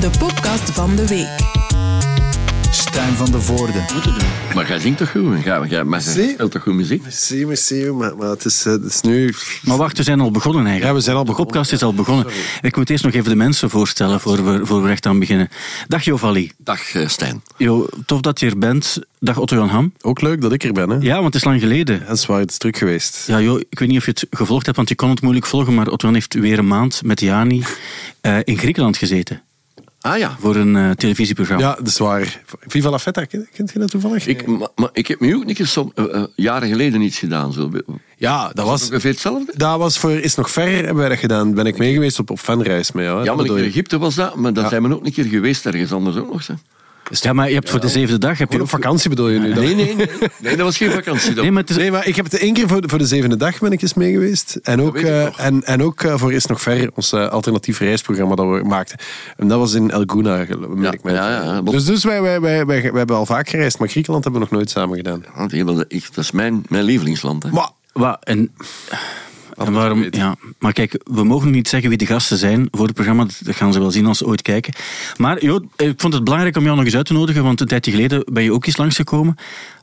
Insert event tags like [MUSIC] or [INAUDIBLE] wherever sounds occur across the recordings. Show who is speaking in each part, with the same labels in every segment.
Speaker 1: de podcast van de week.
Speaker 2: Stijn van de Voorde.
Speaker 3: Maar jij zingt toch goed? Jij, jij, maar jij
Speaker 4: Zie.
Speaker 3: speelt toch goed muziek?
Speaker 4: Merci, merci, maar, maar het, is, eh, het is nu...
Speaker 5: Maar wacht, we zijn al begonnen eigenlijk.
Speaker 4: Ja, we zijn al
Speaker 5: de
Speaker 4: begonnen.
Speaker 5: podcast is al begonnen. Ik moet eerst nog even de mensen voorstellen voor we, voor we echt aan beginnen. Dag Jovali.
Speaker 3: Dag eh, Stijn.
Speaker 5: Jo, tof dat je er bent. Dag Otto-Jan Ham.
Speaker 4: Ook leuk dat ik er ben, hè?
Speaker 5: Ja, want het is lang geleden.
Speaker 4: Dat is waar, het is druk geweest.
Speaker 5: Ja, jo, ik weet niet of je het gevolgd hebt, want je kon het moeilijk volgen, maar Otto-Jan heeft weer een maand met Jani eh, in Griekenland gezeten
Speaker 3: Ah ja.
Speaker 5: voor een eh, televisieprogramma.
Speaker 4: Ja, dat is waar. Viva la Feta, ken- kent je dat toevallig?
Speaker 3: Ik, maar, maar ik heb nu ook een keer som, eh, eh, jaren geleden iets gedaan. Zo.
Speaker 4: ja, dat was...
Speaker 3: Ongeveer hetzelfde.
Speaker 4: Dat was voor Is Nog Ver hebben wij dat gedaan. Ben ik mee geweest op, op fanreis met jou. hè?
Speaker 3: Ja, maar
Speaker 4: Dat
Speaker 3: in
Speaker 4: bedoel je.
Speaker 3: Egypte was dat, maar dat zijn we ook een keer geweest ergens anders ook nog. Hè.
Speaker 4: [LAUGHS]
Speaker 5: Ja, maar je hebt voor de zevende dag... Heb je
Speaker 4: Gewoon op
Speaker 5: ook-
Speaker 4: vakantie bedoel je nu?
Speaker 3: Nee, nee, nee. Nee, dat was geen vakantie. Dat,
Speaker 5: Nee, maar het is-
Speaker 4: Nee, maar ik heb het één keer voor de, voor de zevende dag ben ik eens mee geweest. En ook,
Speaker 3: weet ik
Speaker 4: eh,
Speaker 3: nog.
Speaker 4: en, en ook eh, voor Is Nog Ver, ons eh, alternatief reisprogramma dat we maakten. En dat was in El Gouna, gel- merk ik mij.
Speaker 3: ja, ja, ja.
Speaker 4: dus dus wij, wij, wij, wij, wij hebben al vaak gereisd, maar Griekenland hebben we nog nooit samen gedaan.
Speaker 3: Want ik- Ah, dat is- dat is mijn, mijn lievelingsland. Hè.
Speaker 4: Maar
Speaker 5: Wa- en, en waarom, ja. Maar kijk, we mogen niet zeggen wie de gasten zijn voor het programma. Dat gaan ze wel zien als ze ooit kijken. Maar Jo, ik vond het belangrijk om jou nog eens uit te nodigen, want een tijdje geleden ben je ook eens langsgekomen.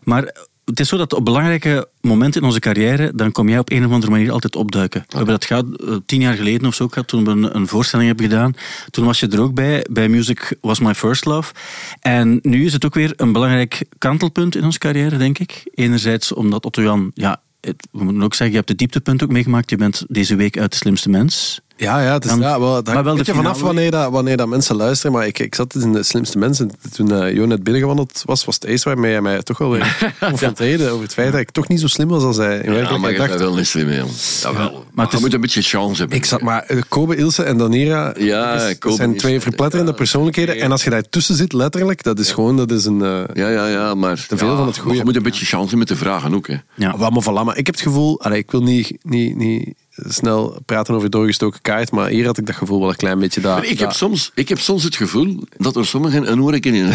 Speaker 5: Maar het is zo dat op belangrijke momenten in onze carrière, dan kom jij op een of andere manier altijd opduiken. We hebben dat gehad eh, tien jaar geleden of zo gehad, toen we een, een voorstelling hebben gedaan. Toen was je er ook bij, bij Music Was My First Love. En nu is het ook weer een belangrijk kantelpunt in onze carrière, denk ik. Enerzijds omdat Otto-Jan, ja, het- we moeten ook zeggen, je hebt het dieptepunt ook meegemaakt. Je bent deze week uit de slimste mens.
Speaker 4: Ja, ja, het is
Speaker 5: Dan-
Speaker 4: ja, wel, het
Speaker 5: maar
Speaker 4: hangt
Speaker 5: wel
Speaker 4: een
Speaker 5: de
Speaker 4: beetje vanaf
Speaker 5: finale.
Speaker 4: wanneer, dat, wanneer dat mensen luisteren. Maar ik, ik zat dus in de slimste mensen. Toen eh Jo net binnengewandeld was, was het eens waarmee hij mij toch wel
Speaker 5: [LAUGHS]
Speaker 4: weer confronteerde over het feit dat ik toch niet zo slim was als hij in
Speaker 3: Ja, maar
Speaker 4: werkelijkheid
Speaker 3: je bent
Speaker 4: dacht.
Speaker 3: wel niet slim, hè, jong. Dat wel. Maar,
Speaker 5: het is-
Speaker 3: je moet een beetje chance hebben.
Speaker 4: Ik zat maar eh, Kobe, Ilse en Danira
Speaker 3: Ja,
Speaker 4: dat is- dat
Speaker 3: Kobe
Speaker 4: zijn
Speaker 3: is-
Speaker 4: twee verpletterende
Speaker 3: ja.
Speaker 4: persoonlijkheden. En als je daar tussen zit, letterlijk, dat is gewoon dat is een. eh,
Speaker 3: Ja, ja, ja, maar...
Speaker 4: veel
Speaker 3: ja,
Speaker 4: van het goede.
Speaker 3: maar Je moet een beetje chance hebben met de vragen ook, hè.
Speaker 5: Ja.
Speaker 4: Wat maar voilà, maar ik heb het gevoel, allee, ik wil niet, niet, niet snel praten over doorgestoken kaart, maar hier had ik dat gevoel wel een klein beetje daar.
Speaker 3: Maar ik, heb soms, ik heb soms het gevoel dat er sommigen een oorken in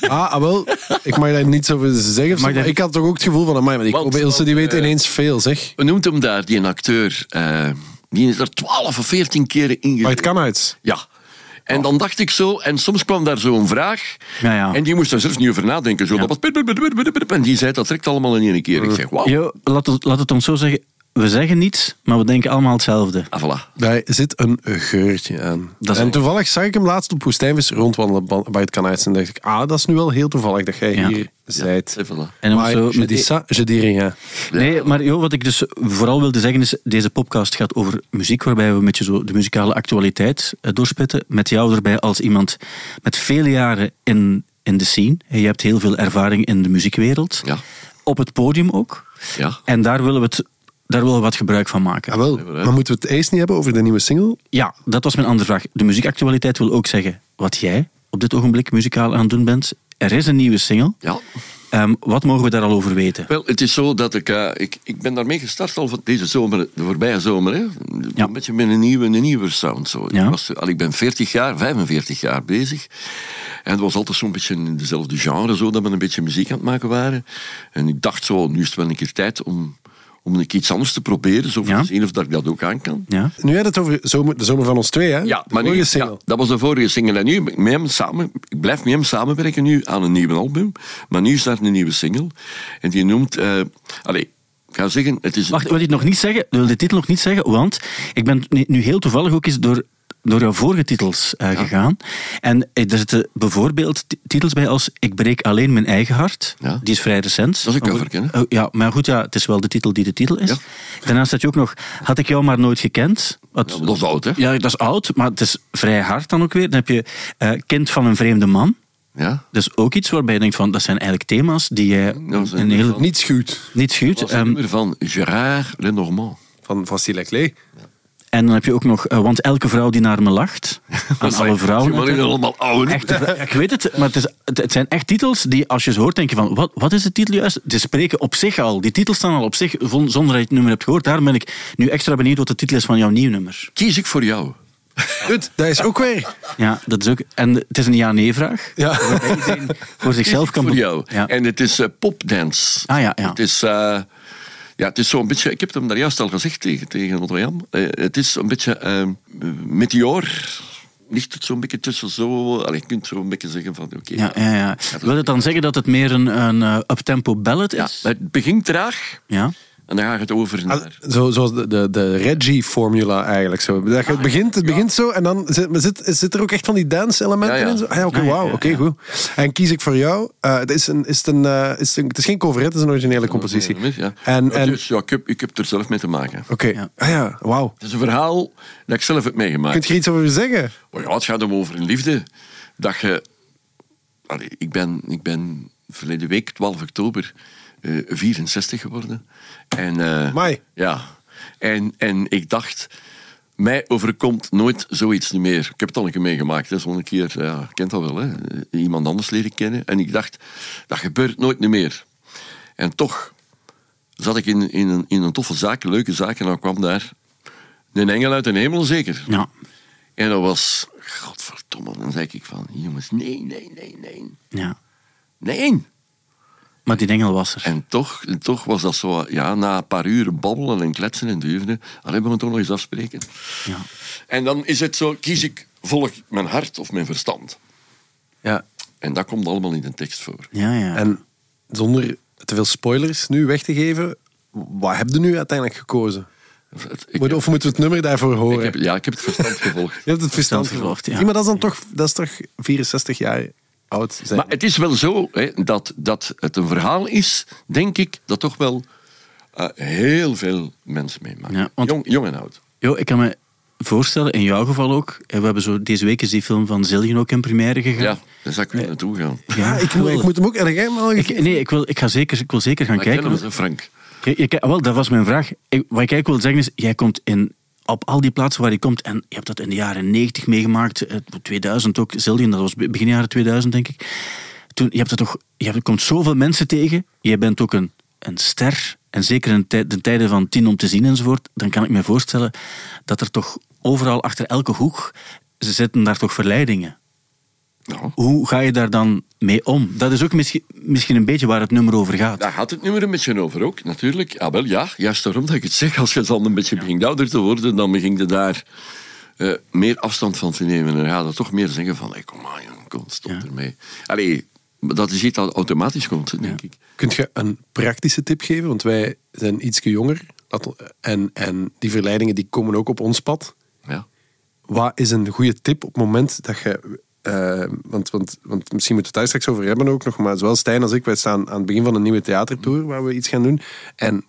Speaker 4: Ah, ah, wel, ik mag daar niets over zeggen. of zo, maar
Speaker 5: Mag dat-
Speaker 4: ik had toch ook het gevoel van, amai, maar die
Speaker 3: Want-
Speaker 4: Kobe Ilse die
Speaker 3: want,
Speaker 4: weet
Speaker 3: eh,
Speaker 4: ineens veel, zeg.
Speaker 3: Hoe noemt hem daar, die een acteur? eh, die is er twaalf of veertien keren in
Speaker 4: Maar het kan uit.
Speaker 3: Ja. En dan dacht ik zo, en soms kwam daar zo'n vraag.
Speaker 5: Ja, ja.
Speaker 3: En die moest daar zelfs niet over nadenken. Zo, dat was pip, pip, pip, pip, pip, pip, en die zei dat direct allemaal in één keer. Ik zeg, wauw.
Speaker 5: Jo, laat, het, laat het ons zo zeggen. We zeggen niets, maar we denken allemaal hetzelfde.
Speaker 3: Ah, voilà.
Speaker 4: Daar zit een geurtje aan.
Speaker 5: Dat is
Speaker 4: en
Speaker 5: wel-
Speaker 4: toevallig zag ik hem laatst op Woestijnvis rondwandelen ba- bij het kanaals. En dacht ik, ah, dat is nu wel heel toevallig dat jij
Speaker 5: Ja.
Speaker 4: hier zijt.
Speaker 3: Eh, voilà.
Speaker 5: En dan
Speaker 4: Maar
Speaker 5: zo
Speaker 4: je
Speaker 5: met-
Speaker 4: dis ça, je dis rien.
Speaker 5: Nee, maar joh, wat ik dus vooral wilde zeggen is, deze podcast gaat over muziek, waarbij we een beetje zo de muzikale actualiteit eh, doorspitten. Met jou erbij als iemand met vele jaren in, in de scene. En je hebt heel veel ervaring in de muziekwereld.
Speaker 3: Ja.
Speaker 5: Op het podium ook.
Speaker 3: Ja.
Speaker 5: En daar willen we, het, daar willen we wat gebruik van maken.
Speaker 4: Ah, wel. Maar moeten we het eerst niet hebben over de nieuwe single?
Speaker 5: Ja, dat was mijn andere vraag. De muziekactualiteit wil ook zeggen wat jij op dit ogenblik muzikaal aan het doen bent. Er is een nieuwe single.
Speaker 3: Ja.
Speaker 5: Ehm, wat mogen we daar al over weten?
Speaker 3: Wel, het is zo dat ik... eh, ik, ik ben daarmee gestart al van deze zomer, de voorbije zomer. Hè?
Speaker 5: Ja.
Speaker 3: Een beetje met een nieuwe, een nieuwe sound. Zo.
Speaker 5: Ja.
Speaker 3: Ik, was, al, ik ben 40 jaar, 45 jaar bezig. En het was altijd zo'n beetje in dezelfde genre zo, dat we een beetje muziek aan het maken waren. En ik dacht zo, nu is het wel een keer tijd om, om een keer iets anders te proberen. Zo, om
Speaker 5: Ja.
Speaker 3: te zien of dat ik dat ook aan kan.
Speaker 5: Ja?
Speaker 4: Nu had het over zomer, de zomer van ons twee, hè?
Speaker 3: Ja,
Speaker 4: de
Speaker 3: maar nu,
Speaker 4: vorige
Speaker 3: ja,
Speaker 4: single.
Speaker 3: dat was de vorige single. En nu ben ik met hem samen, ik blijf met hem samenwerken nu aan een nieuw album. Maar nu is daar een nieuwe single. En die noemt... eh allez, ik ga zeggen, het is...
Speaker 5: Wacht, wil je het nog niet zeggen? Wil de titel nog niet zeggen? Want ik ben nu- nu heel toevallig ook eens door, door jouw vorige titels eh, gegaan. En eh, er zitten bijvoorbeeld ti- titels bij als Ik breek alleen mijn eigen hart.
Speaker 3: Ja.
Speaker 5: Die is vrij recent.
Speaker 3: Dat is een
Speaker 5: Maar goed-
Speaker 3: coverke, hè?
Speaker 5: eh, ja, maar goed, ja, het is wel de titel die de titel is.
Speaker 3: Ja.
Speaker 5: Daarnaast had je ook nog Had ik jou maar nooit gekend. Wat-
Speaker 3: Ja, maar dat is oud, hè?
Speaker 5: Ja, dat is oud, maar het is vrij hard dan ook weer. Dan heb je eh, Kind van een vreemde man.
Speaker 3: Ja?
Speaker 5: Dat is ook iets waarbij je denkt van, dat zijn eigenlijk thema's die jij
Speaker 3: dat is
Speaker 5: een heel,
Speaker 4: Niets goed.
Speaker 5: niet schuwt.
Speaker 3: Dat is een
Speaker 5: Ehm,
Speaker 3: nummer van Gérard Lenormand.
Speaker 4: Van Facile Leclerc.
Speaker 5: En dan heb je ook nog, eh, want elke vrouw die naar
Speaker 3: [LAUGHS]
Speaker 5: me lacht, aan alle vrouwen.
Speaker 3: Maar die zijn allemaal oud.
Speaker 5: Echte vrou-
Speaker 3: [LAUGHS]
Speaker 5: ik weet het, maar het, is, het, het zijn echt titels die als je ze hoort denk je van, wat, wat is de titel juist? Ze spreken op zich al, die titels staan al op zich, zon- zonder dat je het nummer hebt gehoord. Daarom ben ik nu extra benieuwd wat de titel is van jouw nieuw nummer.
Speaker 3: Kies ik voor jou.
Speaker 4: Goed, dat is ook weer.
Speaker 5: Ja, dat is ook, en het is een ja-nee-vraag, [LAUGHS]
Speaker 4: Ja.
Speaker 5: voor
Speaker 3: Kies
Speaker 5: zichzelf
Speaker 3: ik
Speaker 5: kan...
Speaker 3: voor
Speaker 5: be-
Speaker 3: jou.
Speaker 5: Ja.
Speaker 3: En het is eh, popdance.
Speaker 5: Ah ja, ja.
Speaker 3: Het is, eh, ja, het is zo'n beetje... Ik heb het hem daar juist al gezegd tegen, tegen Otto Jan. Eh, het is een beetje eh ehm, meteor. ligt het zo'n beetje tussen zo. Allee, je kunt zo een beetje zeggen van oké.
Speaker 5: Ja, ja, ja.
Speaker 3: dat-
Speaker 5: Wil het dan zeggen dat het meer een, een eh, uptempo ballad
Speaker 3: Ja,
Speaker 5: is?
Speaker 3: het begint traag
Speaker 5: Ja.
Speaker 3: en dan gaat het over naar.
Speaker 4: Zo, zoals de, de, de Reggie-formula eigenlijk. Zo. Dat
Speaker 3: Ah,
Speaker 4: je- het begint, het begint zo en dan zit, maar zit, zit er ook echt van die dance-elementen
Speaker 3: Ja, ja.
Speaker 4: in. Zo. Ah, ja, oké,
Speaker 5: Ja, ja,
Speaker 4: wauw,
Speaker 5: ja,
Speaker 4: oké, goed. En kies ik voor jou. Eh, het, is een, is het, een, eh, is het, een- het is geen cover, het is een originele compositie.
Speaker 3: Ja.
Speaker 4: En, en,
Speaker 3: Dus ja, ik heb, ik heb er zelf mee te maken.
Speaker 4: oké,
Speaker 5: Ja.
Speaker 4: ah ja, wauw.
Speaker 3: Het is een verhaal dat ik zelf heb meegemaakt.
Speaker 4: Kunt je er iets over zeggen?
Speaker 3: Oh ja, het gaat hem over een liefde. Dat je... Allee, ik, ben, ik ben verleden week, 12 oktober, eh, 64 geworden. En, eh,
Speaker 4: Amai.
Speaker 3: Ja. En, en ik dacht, mij overkomt nooit zoiets niet meer. Ik heb het al een keer meegemaakt. Dat is al een keer, ja, je kent dat wel, hè. Eh, Iemand anders leren kennen. En ik dacht, dat gebeurt nooit niet meer. En toch zat ik in, in, een, in een toffe zaak, een leuke zaak. En dan kwam daar een engel uit de hemel, zeker.
Speaker 5: ja.
Speaker 3: En dat was, godverdomme, dan zei ik van, jongens, nee, nee, nee, nee,
Speaker 5: ja.
Speaker 3: nee.
Speaker 5: Maar die engel was er.
Speaker 3: En toch, en toch was dat zo, ja, na een paar uren babbelen en kletsen en duiven, dan hebben we het toch nog eens afspreken.
Speaker 5: Ja.
Speaker 3: En dan is het zo, kies ik, volg ik mijn hart of mijn verstand?
Speaker 4: Ja,
Speaker 3: En dat komt allemaal in de tekst voor.
Speaker 5: Ja, ja.
Speaker 4: en zonder te veel spoilers nu weg te geven, wat heb je nu uiteindelijk gekozen?
Speaker 3: Het- ik
Speaker 4: Moet-
Speaker 3: heb-
Speaker 4: of moeten we het nummer daarvoor horen?
Speaker 3: ik heb, ja, ik heb het verstand gevolgd.
Speaker 4: Je hebt het verstand
Speaker 5: Verstand gevolgd,
Speaker 4: gevolgd.
Speaker 5: ja.
Speaker 4: Ja. maar dat is dan toch, dat is toch 64 jaar oud zijn.
Speaker 3: Maar het is wel zo hè, dat, dat het een verhaal is, denk ik, dat toch wel eh, heel veel mensen meemaken.
Speaker 5: Ja, want-
Speaker 3: jong, jong en oud.
Speaker 5: Jo, ik kan me voorstellen, in jouw geval ook, eh, we hebben zo, deze week is die film van Zilgen ook in première gegaan.
Speaker 3: Ja, daar zou ik weer naartoe gaan.
Speaker 4: ja, ik, moet-
Speaker 5: wil-
Speaker 4: ik moet hem ook erg helemaal.
Speaker 5: ik- nee, ik wil, ik, ga zeker, ik wil zeker gaan
Speaker 3: Maar kennen
Speaker 5: kijken.
Speaker 3: we ze, Frank.
Speaker 5: Je- je- wel, dat was mijn vraag. Ik- wat ik eigenlijk wil zeggen is, jij komt in, op al die plaatsen waar je komt, en je hebt dat in de jaren 90 meegemaakt, eh, 2000 ook, Zildjian, dat was be- begin jaren 2000 denk ik. Toen, je, hebt dat toch, je, hebt- je komt zoveel mensen tegen, je bent ook een, een ster, en zeker in tij- de tijden van tien om te zien enzovoort, dan kan ik me voorstellen dat er toch overal achter elke hoek, ze zitten daar toch verleidingen
Speaker 3: Nou,
Speaker 5: hoe ga je daar dan mee om? Dat is ook misschien, misschien een beetje waar het nummer over gaat.
Speaker 3: daar gaat het nummer een beetje over ook, natuurlijk. Ah, wel, ja, juist daarom dat ik het zeg. Als je dan een beetje begint ouder te worden, dan begint je daar eh, meer afstand van te nemen. En dan gaat dat toch meer zeggen van, hey, kom maar, jongen, kom, stop
Speaker 5: Ja.
Speaker 3: ermee. Allee, maar dat is iets dat automatisch komt, denk ik.
Speaker 4: Kunt je een praktische tip geven? Want wij zijn ietsje jonger. Dat- En, en die verleidingen die komen ook op ons pad.
Speaker 3: Ja.
Speaker 4: Wat is een goede tip op het moment dat je... eh, want, want, want misschien moeten we het daar straks over hebben ook nog. Maar zowel Stijn als ik, wij staan aan het begin van een nieuwe theatertour waar we iets gaan doen. En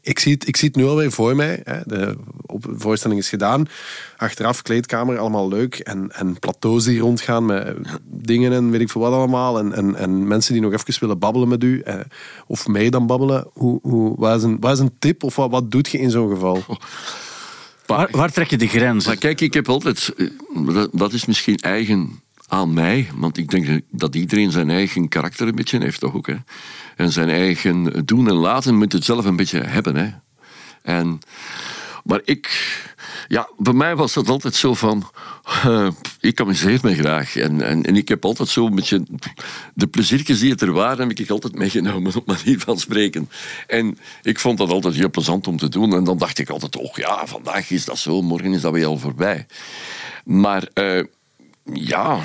Speaker 4: ik zie het, ik zie het nu alweer voor mij. Hè. De op- voorstelling is gedaan. Achteraf kleedkamer, allemaal leuk. En, en plateaus die rondgaan met eh, dingen en weet ik veel wat allemaal. En, en, en mensen die nog even willen babbelen met u. eh, of mee dan babbelen. Hoe, hoe, wat, is een, wat is een tip of wat, wat doet je in zo'n geval?
Speaker 5: Waar, waar trek je de grens?
Speaker 3: Maar kijk, ik heb altijd... eh, Dat, dat is misschien eigen aan mij. Want ik denk dat iedereen zijn eigen karakter een beetje heeft toch ook. Hè? En zijn eigen doen en laten moet het zelf een beetje hebben. Hè? En, maar ik... Ja, bij mij was dat altijd zo van... eh, ik amuseer me graag. En, en, en ik heb altijd zo een beetje... De pleziertjes die het er waren, heb ik altijd meegenomen [LAUGHS] op manier van spreken. En ik vond dat altijd heel plezant om te doen. En dan dacht ik altijd, oh ja, vandaag is dat zo, morgen is dat weer al voorbij. Maar eh, ja,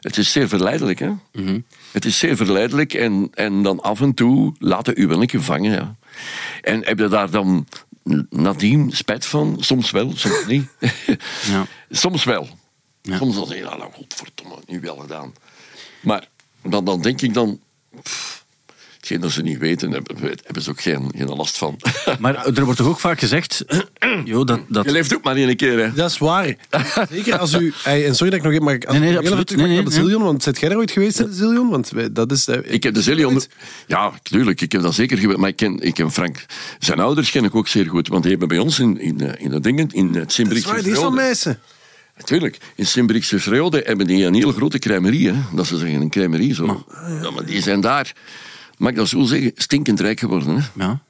Speaker 3: het is zeer verleidelijk, hè?
Speaker 5: Mhm.
Speaker 3: Het is zeer verleidelijk en, en dan af en toe laten u wel een keer vangen, ja. En heb je daar dan nadien spijt van? Soms wel, soms niet.
Speaker 5: [LAUGHS] Ja.
Speaker 3: Soms wel.
Speaker 5: Ja.
Speaker 3: Soms dan zeg je, nou, nou godverdomme, nu wel gedaan. Maar dan, dan denk ik dan... pff, hetgeen dat ze niet weten, hebben, hebben ze ook geen, geen last van. [LAUGHS]
Speaker 5: Maar er wordt toch ook vaak gezegd, [CLEARS THROAT] jo, dat, dat,
Speaker 3: Je leeft ook maar één keer, hè.
Speaker 4: Dat is
Speaker 3: [LAUGHS]
Speaker 4: waar. Zeker als u. Ey, en sorry dat ik nog even. Maar ik- als
Speaker 5: Nee, nee,
Speaker 4: ik nog heel
Speaker 5: absoluut.
Speaker 4: even terug
Speaker 5: Nee,
Speaker 4: naar
Speaker 5: nee,
Speaker 4: de Zillion, want zit jij er ooit geweest in de Zillion? Want wij- dat is. eh,
Speaker 3: Ik heb de Zillion... Ja, tuurlijk, ik heb dat zeker gewerkt. Maar ik ken, ik ken Frank... Zijn ouders ken ik ook zeer goed. Want die hebben bij ons in, in, eh, in dat ding, in het
Speaker 4: Dat is
Speaker 3: Simbrikse
Speaker 4: waar, die is van
Speaker 3: Vrode-
Speaker 4: meisje.
Speaker 3: Natuurlijk. In Simbrikse Vrede hebben die een hele grote crèmerie. Hè? Dat ze zeggen, een crèmerie zo. Ja, maar die zijn daar... Mag ik dat zo zeggen? Stinkend rijk geworden, hè?
Speaker 5: ja.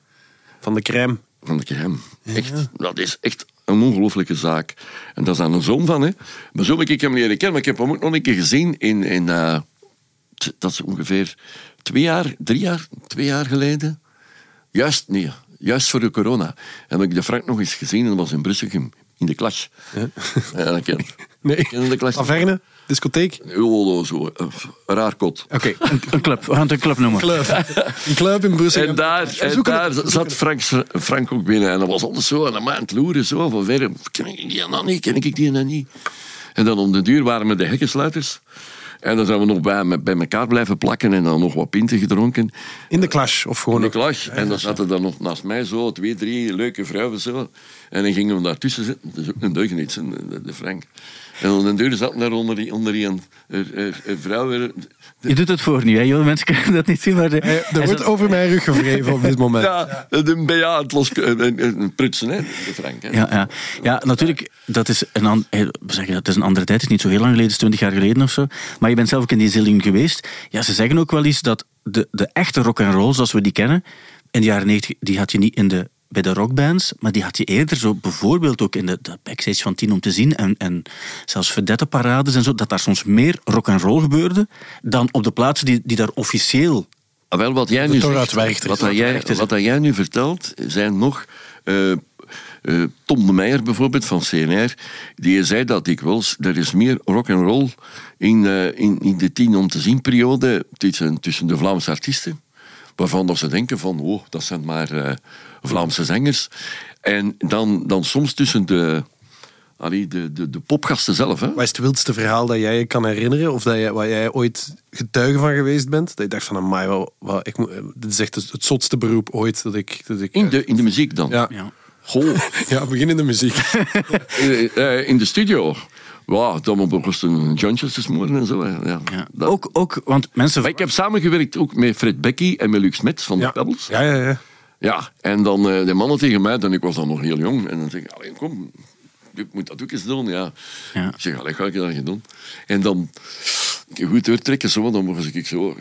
Speaker 4: Van de crème.
Speaker 3: van de crème. Echt, dat is echt een ongelooflijke zaak. En dat is aan een zoon van, hè. Maar zo heb ik hem leren kennen. Maar ik heb hem ook nog een keer gezien in... in eh, t- dat is ongeveer twee jaar, drie jaar, twee jaar geleden. Juist, nee, juist voor de corona. Heb ik de Frank nog eens gezien. En dat was in Brussel, in, in de Clash. Ja, dat ken ik.
Speaker 4: Nee.
Speaker 3: Ken je de Clash?
Speaker 4: Averne, discotheek.
Speaker 3: Jolo, zo. eh, Raar kot.
Speaker 4: Oké,
Speaker 5: Een, een club, we gaan het een club
Speaker 3: [LAUGHS]
Speaker 5: noemen.
Speaker 4: club. Een club in Brussel.
Speaker 3: En daar, en
Speaker 4: zoeken
Speaker 3: daar
Speaker 4: het.
Speaker 3: zat Frank, Frank ook binnen. En dat was altijd zo aan de maand loeren. Zo, van verre. Ken ik die en dat niet? Ken ik die en dat niet? En dan om de duur waren we de hekkensluiters. En dan zijn we nog bij, bij elkaar blijven plakken. En dan nog wat pinten gedronken.
Speaker 4: In de clash, of gewoon...
Speaker 3: In de
Speaker 4: ook-
Speaker 3: klas. En dan zaten dan nog naast mij zo twee, drie leuke vrouwen. Zo. En dan gingen we daartussen zitten. Dat is ook een deugniet, hè, de, de Frank. En onder de deur zaten daar onder die, onder die een, er- er- er vrouwen.
Speaker 5: Je doet het voor nu, hè, joh. mensen kunnen dat niet zien. Maar de,
Speaker 4: Eh,
Speaker 5: hij
Speaker 4: Er wordt
Speaker 5: zat-
Speaker 4: over mijn rug gevreven op dit
Speaker 3: [LAUGHS]
Speaker 4: moment.
Speaker 3: Ja, een BA aan het los, een, een- een prutsen, hè, de Frank. Hè.
Speaker 5: Ja, ja. ja, natuurlijk, dat is een, an- eh, we zeggen, dat is een andere tijd. Het is niet zo heel lang geleden, het is 20 jaar geleden of zo. Maar je bent zelf ook in die zilling geweest. Ja, ze zeggen ook wel eens dat de, de echte rock and roll, zoals we die kennen, in de jaren 90, die had je niet in de, bij de rockbands, maar die had je eerder zo bijvoorbeeld ook in de, de backstage van Tien om te zien en, en zelfs vedettenparades en zo, dat daar soms meer rock and roll gebeurde dan op de plaatsen die, die daar officieel
Speaker 3: Ah, Wel, wat jij nu
Speaker 4: Torah
Speaker 3: zegt,
Speaker 4: Zwijgter.
Speaker 3: wat, dat
Speaker 5: Torah
Speaker 3: jij,
Speaker 5: Zwijgter.
Speaker 3: wat dat jij nu vertelt, zijn nog... eh, eh, Tom de Meijer bijvoorbeeld van CNR, die zei dat dikwijls, er is meer rock'n'roll in, eh, in, in de tien om te zien periode tussen, tussen de Vlaamse artiesten, waarvan dat ze denken van, oh, dat zijn maar eh, Vlaamse zangers. En dan, dan soms tussen de, allee, de, de, de popgasten zelf. Hè?
Speaker 4: Wat is het wildste verhaal dat jij je kan herinneren? Of dat jij, waar jij ooit getuige van geweest bent? Dat je dacht van, amai, wel, wel, ik moet, eh, dit is echt het, het zotste beroep ooit dat ik... Dat ik
Speaker 3: In de, in de muziek dan.
Speaker 4: ja.
Speaker 5: ja,
Speaker 3: Goh.
Speaker 4: [LAUGHS] ja, begin in de muziek.
Speaker 3: Eh, eh, in de studio. Wauw, dan op een Johnson te smoren en zo. hè. Ja.
Speaker 5: ja.
Speaker 3: Dat-
Speaker 5: Ook, ook, want mensen...
Speaker 3: Maar ik heb samengewerkt ook met Fred Becky en met Luc Smets van de
Speaker 4: ja.
Speaker 3: Pebbles. Ja.
Speaker 4: ja, ja, ja.
Speaker 3: en dan eh, de mannen tegen mij, en ik was dan nog heel jong. En dan zeg ik, "Allee, kom, ik moet dat ook eens doen. Ja.
Speaker 5: Ja.
Speaker 3: Ik zeg, allee, ga ik dat gaan doen. En dan goed doortrekken, zo, dan mogen ze ik zo... eh,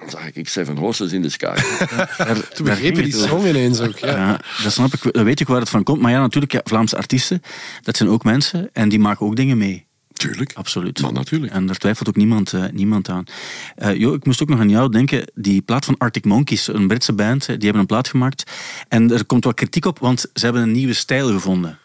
Speaker 3: Dan zag ik Seven Horses in de Sky.
Speaker 5: [LAUGHS] daar-
Speaker 4: Toen
Speaker 5: daar
Speaker 4: begreep je
Speaker 5: ging
Speaker 4: die
Speaker 5: het
Speaker 4: song ineens ook. Ja.
Speaker 5: Ja, dat snap ik. Dat weet ik waar het van komt. Maar ja, natuurlijk, ja, Vlaamse artiesten, dat zijn ook mensen en die maken ook dingen mee.
Speaker 3: Tuurlijk.
Speaker 5: Absoluut.
Speaker 3: Maar natuurlijk.
Speaker 5: En daar twijfelt ook niemand, eh, niemand aan. Eh, jo, ik moest ook nog aan jou denken. Die plaat van Arctic Monkeys, een Britse band, eh, die hebben een plaat gemaakt. En er komt wat kritiek op, want ze hebben een nieuwe stijl gevonden.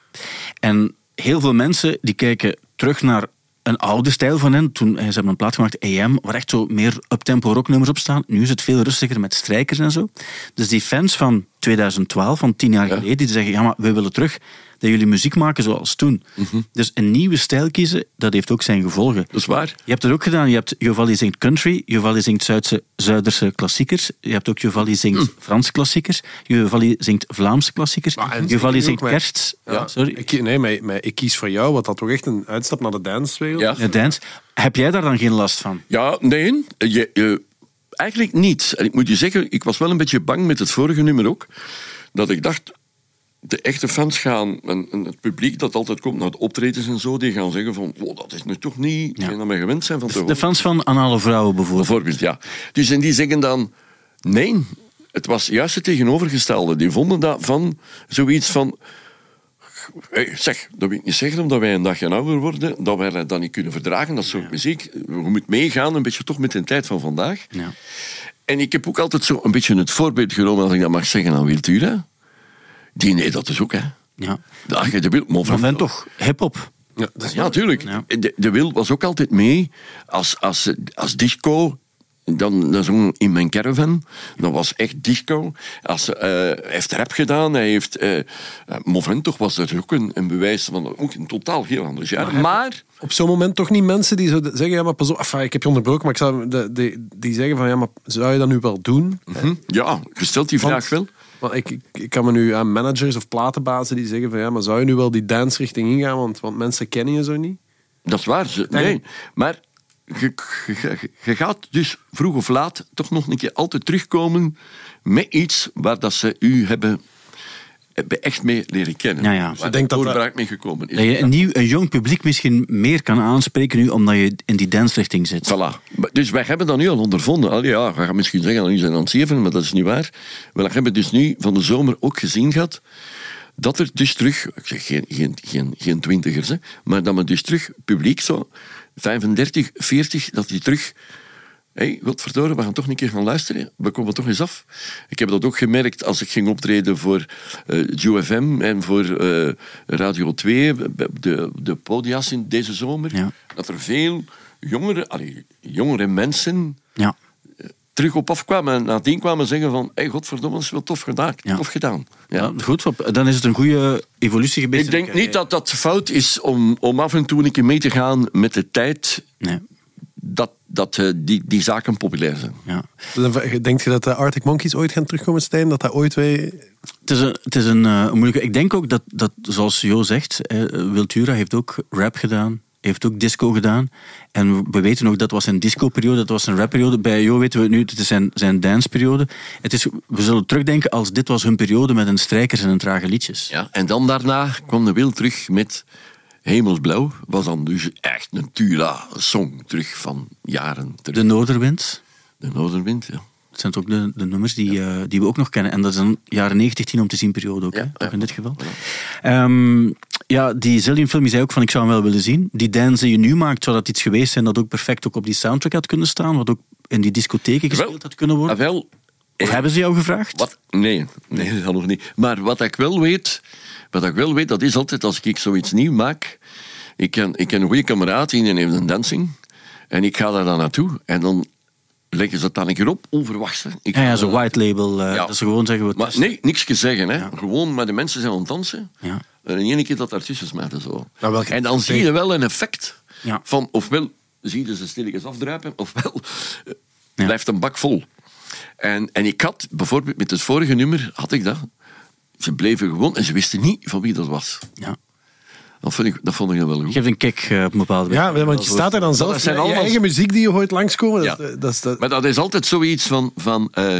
Speaker 5: En heel veel mensen die kijken terug naar een oude stijl van hen. Toen, eh, ze hebben een plaat gemaakt, AM, waar echt zo meer uptempo rocknummers op staan. Nu is het veel rustiger met strijkers en zo. Dus die fans van 2012, van tien jaar geleden, die zeggen... Ja, maar we willen terug dat jullie muziek maken zoals toen. Dus een nieuwe stijl kiezen, dat heeft ook zijn gevolgen.
Speaker 3: Mhm. Dat is waar.
Speaker 5: Je hebt het ook gedaan. Je hebt Jovalli zingt country, Jovalli zingt Zuidse, Zuiderse klassiekers. Je hebt ook Jovalli zingt
Speaker 3: Mm.
Speaker 5: Franse klassiekers. Jovalli zingt Vlaamse klassiekers.
Speaker 4: en
Speaker 5: Jovalli
Speaker 4: ook
Speaker 5: zingt
Speaker 4: met-
Speaker 5: kerst.
Speaker 4: Ja.
Speaker 5: Sorry.
Speaker 4: Ik, ki- nee, maar, maar ik kies voor jou, wat dat toch echt een uitstap naar de dancewereld
Speaker 3: Ja.
Speaker 5: Ja, Dance. Heb jij daar dan geen last van?
Speaker 3: Ja, nee. Je, je- eigenlijk niet. En ik moet je zeggen, ik was wel een beetje bang met het vorige nummer ook. Dat ik dacht, de echte fans gaan, en, en het publiek dat altijd komt naar de optredens en zo, die gaan zeggen van, oh, dat is nu toch niet,
Speaker 5: Ja.
Speaker 3: en dat we gewend zijn van te
Speaker 5: De
Speaker 3: horen.
Speaker 5: fans van Anale Vrouwen bijvoorbeeld.
Speaker 3: Bijvoorbeeld, ja. Dus en die zeggen dan, nee, het was juist het tegenovergestelde. Die vonden dat van zoiets van, hey, zeg, dat wil ik niet zeggen omdat wij een dagje ouder worden, dat wij dat niet kunnen verdragen, dat soort muziek. Je moet meegaan, een beetje toch met de tijd van vandaag.
Speaker 5: Ja.
Speaker 3: En ik heb ook altijd zo een beetje het voorbeeld genomen, als ik dat mag zeggen, aan Wiltura. Die nee, dat is ook, hè.
Speaker 5: Ja.
Speaker 3: Ach, de wil, maar
Speaker 5: Maar
Speaker 3: van-
Speaker 5: ben toch hip-hop.
Speaker 4: Ja, dus dat is-
Speaker 3: ja, natuurlijk.
Speaker 5: Ja.
Speaker 3: De, de Wil was ook altijd mee. Als, als, als disco, dan, dan zong in mijn caravan. Dat was echt disco. Als, eh, hij heeft rap gedaan. Hij heeft, eh eh, Movento was er ook een, een bewijs van ook een totaal heel anders jaar. Maar,
Speaker 4: op zo'n moment toch niet mensen die zo de- zeggen, ja, maar pas op, enfin, ik heb je onderbroken, maar ik zou, de, de- die zeggen van, ja, maar zou je dat nu wel doen?
Speaker 3: hm, ja, gesteld die
Speaker 4: Want-
Speaker 3: vraag wel.
Speaker 4: Want ik, ik, ik kan me nu aan managers of platenbazen die zeggen van, ja, maar zou je nu wel die dance richting ingaan, want, want mensen kennen je zo niet?
Speaker 3: Dat is waar. ze-
Speaker 4: Nee.
Speaker 3: nee. Maar je, je- je- je gaat dus vroeg of laat toch nog een keer altijd terugkomen met iets waar dat ze u hebben, hebben echt mee leren kennen.
Speaker 5: Ja, ja. Dus
Speaker 3: Waar
Speaker 5: ik
Speaker 3: de
Speaker 4: denk dat dat-
Speaker 3: doorbraak mee gekomen is.
Speaker 5: Dat je een, nieuw, een jong publiek misschien meer kan aanspreken nu, omdat je in die dansrichting zit.
Speaker 3: Voilà. Maar Dus wij hebben dat nu al ondervonden. Al ja, we gaan misschien zeggen, al nu zijn we aan het zeven, maar dat is niet waar. We hebben dus nu van de zomer ook gezien gehad dat er dus terug, ik zeg geen, geen, geen, geen twintigers, hè, maar dat we dus terug publiek zo, 35, 40, dat die terug hey, godverdorie, we gaan toch een keer gaan luisteren. We komen toch eens af. Ik heb dat ook gemerkt als ik ging optreden voor eh UFM en voor eh, Radio 2, de, de podia's in deze zomer.
Speaker 5: Ja.
Speaker 3: Dat er veel jongere, allee, jongere mensen
Speaker 5: Ja.
Speaker 3: terug op afkwamen en nadien kwamen zeggen van hey, godverdomme, dat is wel tof gedaan.
Speaker 5: Ja.
Speaker 3: Tof gedaan. Ja.
Speaker 5: Ja, goed, Fab. dan is het een goede evolutie geweest.
Speaker 3: Ik denk niet dat dat fout is om, om af en toe een keer mee te gaan met de tijd
Speaker 5: Nee,
Speaker 3: dat, dat eh, die, die zaken populair zijn.
Speaker 5: ja.
Speaker 4: Dus Dan- Denk je dat de Arctic Monkeys ooit gaan terugkomen, Stijn? Dat dat ooit weer...
Speaker 5: Het is een, het is een eh, moeilijke... Ik denk ook dat, dat zoals Jo zegt, eh, Wiltura heeft ook rap gedaan. Heeft ook disco gedaan. En we- we weten ook dat was een disco-periode, dat was een rap-periode. Bij Jo weten we het nu, het is zijn, zijn dance-periode. Het is, we zullen terugdenken als dit was hun periode met een strijkers en een trage liedjes.
Speaker 3: Ja. En dan daarna kwam de Wil terug met Hemelsblauw. Was dan dus echt een Tula-song terug van jaren terug.
Speaker 5: De Noorderwind.
Speaker 3: De, Noorderwind, ja.
Speaker 5: Dat zijn ook de, de nummers die, eh, die we ook nog kennen. En dat is een jaren 90 tien om te zien periode ook,
Speaker 3: Ja,
Speaker 5: hè?
Speaker 3: ja.
Speaker 5: Ook in dit geval. Ehm, ja, die Zillion film, die zei ook van ik zou hem wel willen zien. Die dance die je nu maakt, zou dat iets geweest zijn dat ook perfect ook op die soundtrack had kunnen staan, wat ook in die discotheken gespeeld had kunnen worden.
Speaker 3: Ah, wel,
Speaker 5: Of hebben ze jou gevraagd?
Speaker 3: Wat? Nee, nee, dat nog niet. Maar wat ik wel weet, wat ik wel weet, dat is altijd als ik zoiets nieuw maak. Ik ken, ik ken een goede kameraad die heeft een dancing. En ik ga daar dan naartoe. En dan leggen ze dat dan een keer op, onverwachts. hè. Ik
Speaker 5: Ja,
Speaker 3: ga
Speaker 5: ja zo'n
Speaker 3: daar-
Speaker 5: white label. eh,
Speaker 3: Ja.
Speaker 5: Dat ze gewoon zeggen... we
Speaker 3: Maar
Speaker 5: testen.
Speaker 3: nee, niks gezeggen. Hè. Gewoon, maar de mensen zijn aan het dansen.
Speaker 5: Ja.
Speaker 3: En in één keer dat daartussen smaten zo.
Speaker 4: Nou, welke-
Speaker 3: en dan zie je wel een effect.
Speaker 5: Ja.
Speaker 3: Van, ofwel zie je ze stilletjes afdruipen, ofwel eh,
Speaker 5: Ja.
Speaker 3: blijft een bak vol. En, en ik had, bijvoorbeeld met het vorige nummer, had ik dat. Ze bleven gewoon en ze wisten niet van wie dat was.
Speaker 5: Ja.
Speaker 3: Dat vond ik, dat vond ik dan wel goed.
Speaker 5: Je geeft een kick eh, op een bepaalde
Speaker 4: Ja,
Speaker 5: manier.
Speaker 4: want je staat er dan zelf.
Speaker 3: zijn
Speaker 4: je
Speaker 3: allemaal-
Speaker 4: eigen muziek die je hoort langskomen.
Speaker 3: Ja.
Speaker 4: Dat, is- dat is, dat,
Speaker 3: Maar dat is altijd zoiets van... van eh,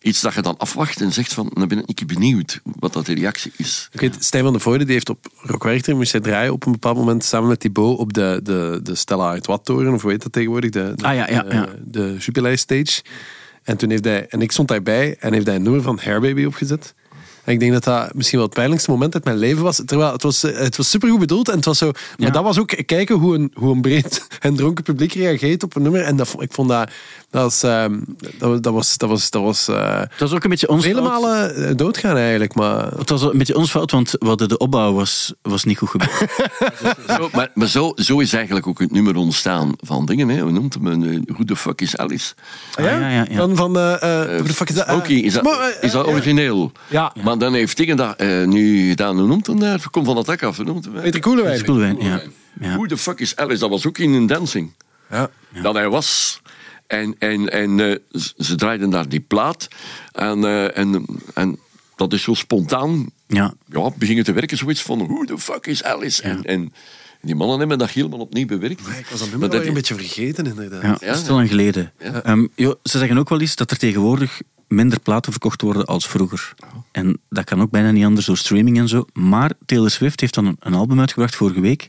Speaker 3: iets dat je dan afwacht en zegt van... Dan ben ik niet benieuwd wat dat de reactie is.
Speaker 4: Ik weet, Stijn van de Voorde die heeft op Rock Werchter moest hij draaien op een bepaald moment samen met Thibaut op de, de, de Stella uit Wattoren, of hoe heet dat tegenwoordig? De, de,
Speaker 5: Ah, ja, ja,
Speaker 4: eh,
Speaker 5: ja.
Speaker 4: de Jubilee Stage. En toen heeft hij, en ik stond daarbij en heeft hij een nummer van Hairbaby opgezet. En ik denk dat dat misschien wel het pijnlijkste moment uit mijn leven was. Terwijl het was, eh, het was supergoed bedoeld en het was zo. Maar
Speaker 5: Ja.
Speaker 4: dat was ook kijken hoe een, hoe een breed [LAUGHS] en dronken publiek reageert op een nummer. En dat, vond- ik vond dat. Dat was. ehm, dat, was- dat was. Dat was. Dat was eh,
Speaker 5: Dat is ook een beetje ons
Speaker 4: vele
Speaker 5: fout.
Speaker 4: malen eh, doodgaan eigenlijk. Maar
Speaker 5: Het was een beetje ons fout, want we hadden de opbouw was, was niet goed
Speaker 3: [LAUGHS]
Speaker 5: gebeurd.
Speaker 3: Zo, maar maar zo, zo is eigenlijk ook het nummer ontstaan van dingen. Hè. Hoe noemt hem? een Who the fuck is Alice?
Speaker 5: Ah, ja, ja, ja.
Speaker 4: Van, van eh, eh, hoe de fuck is dat? eh,
Speaker 3: Oké, is dat,
Speaker 4: Smo- eh,
Speaker 3: is dat
Speaker 4: eh,
Speaker 3: origineel?
Speaker 4: Ja.
Speaker 3: Maar dan heeft Dingen dat eh, nu gedaan. Hoe noemt hem daar? Kom van dat dak af. Hoe noemt hem?
Speaker 4: eh, Peter Koelewijn.
Speaker 5: Peter Koelewijn, ja. ja.
Speaker 3: Who the fuck is Alice? Dat was ook in een dancing.
Speaker 4: Ja.
Speaker 3: Dat hij was. En, en, en eh, z- ze draaiden daar die plaat. En, eh, en, en dat is zo spontaan.
Speaker 5: Ja.
Speaker 3: Ja, begingen te werken. Zoiets van, who the fuck is Alice? En, en die mannen hebben dat helemaal opnieuw bewerkt.
Speaker 4: Ah, Ik was dat
Speaker 3: Maar
Speaker 4: nummer
Speaker 3: dat-
Speaker 4: wel een beetje vergeten, inderdaad.
Speaker 5: Ja,
Speaker 3: Ja,
Speaker 5: dat is te lang geleden. Ehm, joh, ze zeggen ook wel eens dat er tegenwoordig minder platen verkocht worden als vroeger.
Speaker 3: Oh.
Speaker 5: En dat kan ook bijna niet anders door streaming en zo. Maar Taylor Swift heeft dan een- een album uitgebracht vorige week.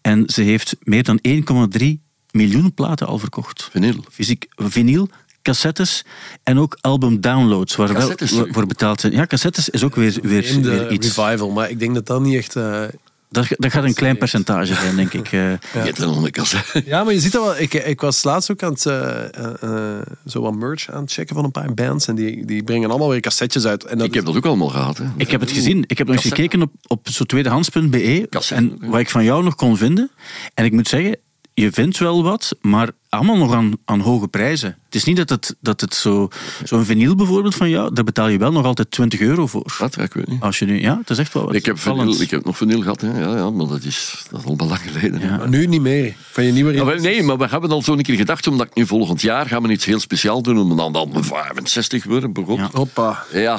Speaker 5: En ze heeft meer dan 1,3 miljoen platen al verkocht.
Speaker 3: Vinyl.
Speaker 5: Fysiek vinyl, cassettes en ook album downloads. Waar wel
Speaker 3: Cassettes, sorry.
Speaker 5: voor betaald zijn. Ja, cassettes is ook weer, weer,
Speaker 4: In de
Speaker 5: weer iets.
Speaker 4: revival, maar ik denk dat dat niet echt... eh,
Speaker 5: Dat, dat gaat een klein percentage zijn, denk
Speaker 4: [LAUGHS]
Speaker 5: ik. Eh,
Speaker 3: Je hebt een kassa.
Speaker 4: Ja, maar je ziet dat wel. Ik, ik was laatst ook aan het eh, eh, eh, zo wat merch aan het checken van een paar bands. En die, die brengen allemaal weer cassetjes uit. En
Speaker 3: [LAUGHS]
Speaker 4: dat
Speaker 3: Ik heb
Speaker 4: is-
Speaker 3: dat ook allemaal gehad. Hè.
Speaker 5: Ik heb het gezien. Ik heb nog eens
Speaker 3: Cassette.
Speaker 5: gekeken op, op zo'n tweedehands.be.
Speaker 3: Cassette,
Speaker 5: E En wat ik van jou nog kon vinden. En ik moet zeggen, je vindt wel wat, maar allemaal nog aan, aan hoge prijzen. Het is niet dat het, dat het zo... Zo'n vinyl bijvoorbeeld van jou, daar betaal je wel nog altijd 20 euro voor.
Speaker 3: Wat? Ja, Ik weet niet.
Speaker 5: Als je nu... Ja, het is echt wel wat.
Speaker 3: Ik heb,
Speaker 5: Vallend.
Speaker 3: vinyl, ik heb nog vinyl gehad, hè. Ja, ja, maar dat is, dat is al lang geleden. hè.
Speaker 4: maar nu niet meer. Van je nieuwe...
Speaker 3: Ja, Ah, wel, nee, maar we hebben al zo'n keer gedacht, omdat ik nu volgend jaar gaan we iets heel speciaal doen, omdat dan, dan 65 worden begonnen.
Speaker 4: Hoppa.
Speaker 3: Ja.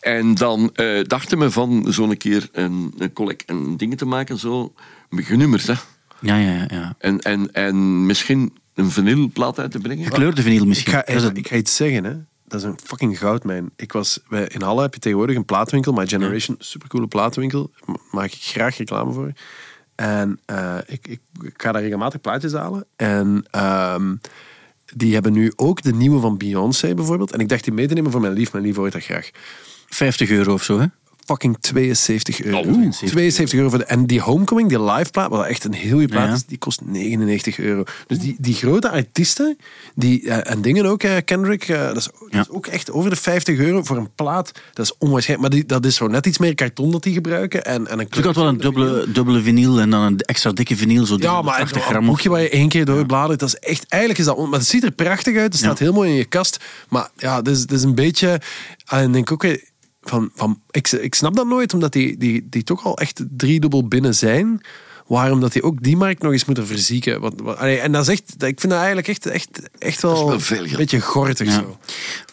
Speaker 3: en dan eh, dachten we van zo'n keer een, een collect en dingen te maken, zo met genummerd, hè.
Speaker 5: Ja, ja, ja, ja.
Speaker 3: En, en, en misschien een vinylplaat uit te brengen.
Speaker 5: Gekleurde vinyl
Speaker 4: Ik
Speaker 5: misschien.
Speaker 4: ga,
Speaker 5: Dat is het-
Speaker 4: ik ga iets zeggen, hè. Dat is een fucking goudmijn. Ik was, bij, in Halle heb je tegenwoordig een plaatwinkel. My Generation, supercoole plaatwinkel. Ma- Maak ik graag reclame voor. En eh, ik, ik, ik ga daar regelmatig plaatjes halen. En ehm, die hebben nu ook de nieuwe van Beyoncé bijvoorbeeld. En ik dacht die mee te nemen voor mijn lief. Mijn lief hoort dat graag.
Speaker 5: 50 euro of zo, hè?
Speaker 4: fucking 72 euro.
Speaker 3: Oh,
Speaker 4: 72, euro. Voor de, en die Homecoming, die live plaat, wat echt een heel je plaat
Speaker 5: Ja.
Speaker 4: is, die kost 99 euro. Dus die, die grote artiesten, die, eh, en dingen ook, eh, Kendrick, eh, dat, is, dat
Speaker 5: Ja.
Speaker 4: is ook echt over de 50 euro voor een plaat. Dat is onwaarschijnlijk. Maar die, dat is zo net iets meer karton dat die gebruiken. En, en een
Speaker 5: Ik had wel een dubbele, dubbele vinyl en dan een extra dikke vinyl, zo
Speaker 4: ja, maar
Speaker 5: 80
Speaker 4: een
Speaker 5: gram. of-
Speaker 4: boekje waar je één keer doorbladert, dat is echt, eigenlijk is dat, on- maar het ziet er prachtig uit, het staat
Speaker 5: Ja.
Speaker 4: heel mooi in je kast, maar ja, het is, het is een beetje, en ik denk ook weer van, van ik, ik snap dat nooit, omdat die, die, die toch al echt driedubbel binnen zijn, waarom dat die ook die markt nog eens moeten verzieken. Want, want- allee, en dat is echt, dat- ik vind dat eigenlijk echt, echt, echt wel,
Speaker 3: wel veel
Speaker 4: een
Speaker 3: geld. Dus-
Speaker 4: beetje gortig
Speaker 5: Ja.
Speaker 4: zo.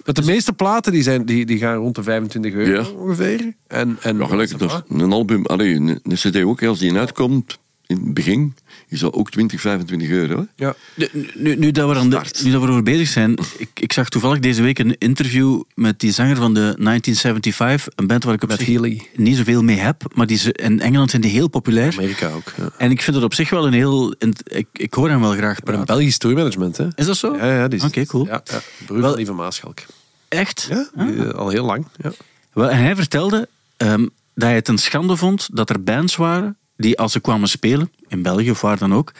Speaker 4: Want de meeste platen die zijn, die, die gaan rond de 25 euro
Speaker 3: Ja.
Speaker 4: ongeveer. En, en
Speaker 3: Ja, gelijk. Dat is een album, allee, een, een cd ook, als die uitkomt, in het begin, is dat ook 20, 25 euro. Hè?
Speaker 4: Ja.
Speaker 5: Nu, nu, nu dat we aan de-
Speaker 3: Start.
Speaker 5: nu dat we erover bezig zijn, ik, ik zag toevallig deze week een interview met die zanger van de 1975, een band waar ik op
Speaker 4: Met
Speaker 5: zich
Speaker 4: Healy.
Speaker 5: niet zoveel mee heb, maar die ze, in Engeland zijn die heel populair.
Speaker 4: Amerika ook. Ja.
Speaker 5: En ik vind het op zich wel een heel... en Ik, ik hoor hem wel graag
Speaker 4: Maar een
Speaker 5: praten.
Speaker 4: Belgisch tourmanagement, hè?
Speaker 5: Is dat zo?
Speaker 4: Ja, ja, die is-
Speaker 5: Oké, cool.
Speaker 4: Ja, ja. Broer
Speaker 5: Wel-
Speaker 4: van Lieve Maaschalk.
Speaker 5: Echt?
Speaker 4: Ja, die, eh, al heel lang. Ja.
Speaker 5: Wel, en hij vertelde ehm, dat hij het een schande vond dat er bands waren die als ze kwamen spelen, in België of waar dan ook,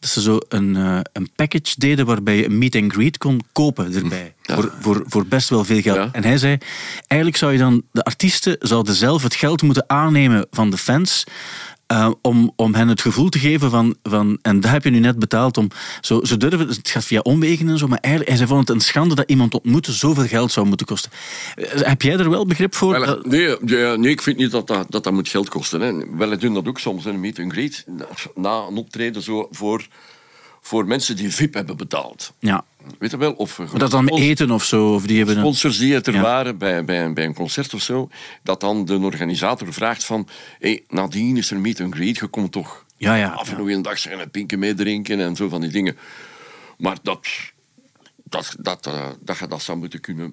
Speaker 5: dat ze zo een, eh, een package deden waarbij je een meet and greet kon kopen erbij.
Speaker 3: Ja.
Speaker 5: Voor, voor, voor best wel veel geld.
Speaker 3: Ja.
Speaker 5: En hij zei, eigenlijk zou je dan, de artiesten zouden zelf het geld moeten aannemen van de fans, eh, om, om hen het gevoel te geven van, van, en dat heb je nu net betaald om, zo, ze durven, het gaat via omwegen en zo, maar eigenlijk, hij zei, vond het een schande dat iemand ontmoeten zoveel geld zou moeten kosten. Eh, Heb jij er wel begrip voor?
Speaker 3: Wel, eh,
Speaker 5: Dat-
Speaker 3: nee, ja, nee, ik vind niet dat dat, dat, dat moet geld kosten. Hè. Wel, doen dat ook soms, hè, een meet and greet. Na, na een optreden zo voor, voor mensen die VIP hebben betaald.
Speaker 5: Ja,
Speaker 3: Weet je wel? Of, eh,
Speaker 5: maar dat dan
Speaker 3: sponsors-
Speaker 5: eten of zo, of die hebben een...
Speaker 3: Sponsors die het er
Speaker 5: Ja.
Speaker 3: waren bij, bij, een- bij een concert of zo. Dat dan de organisator vraagt van... Hey, nadien is er een meet and greet, je komt toch
Speaker 5: Ja, ja,
Speaker 3: af en
Speaker 5: ja.
Speaker 3: toe een dag zijn en pinken meedrinken en zo van die dingen. Maar dat, dat, dat, eh, dat je dat zou moeten kunnen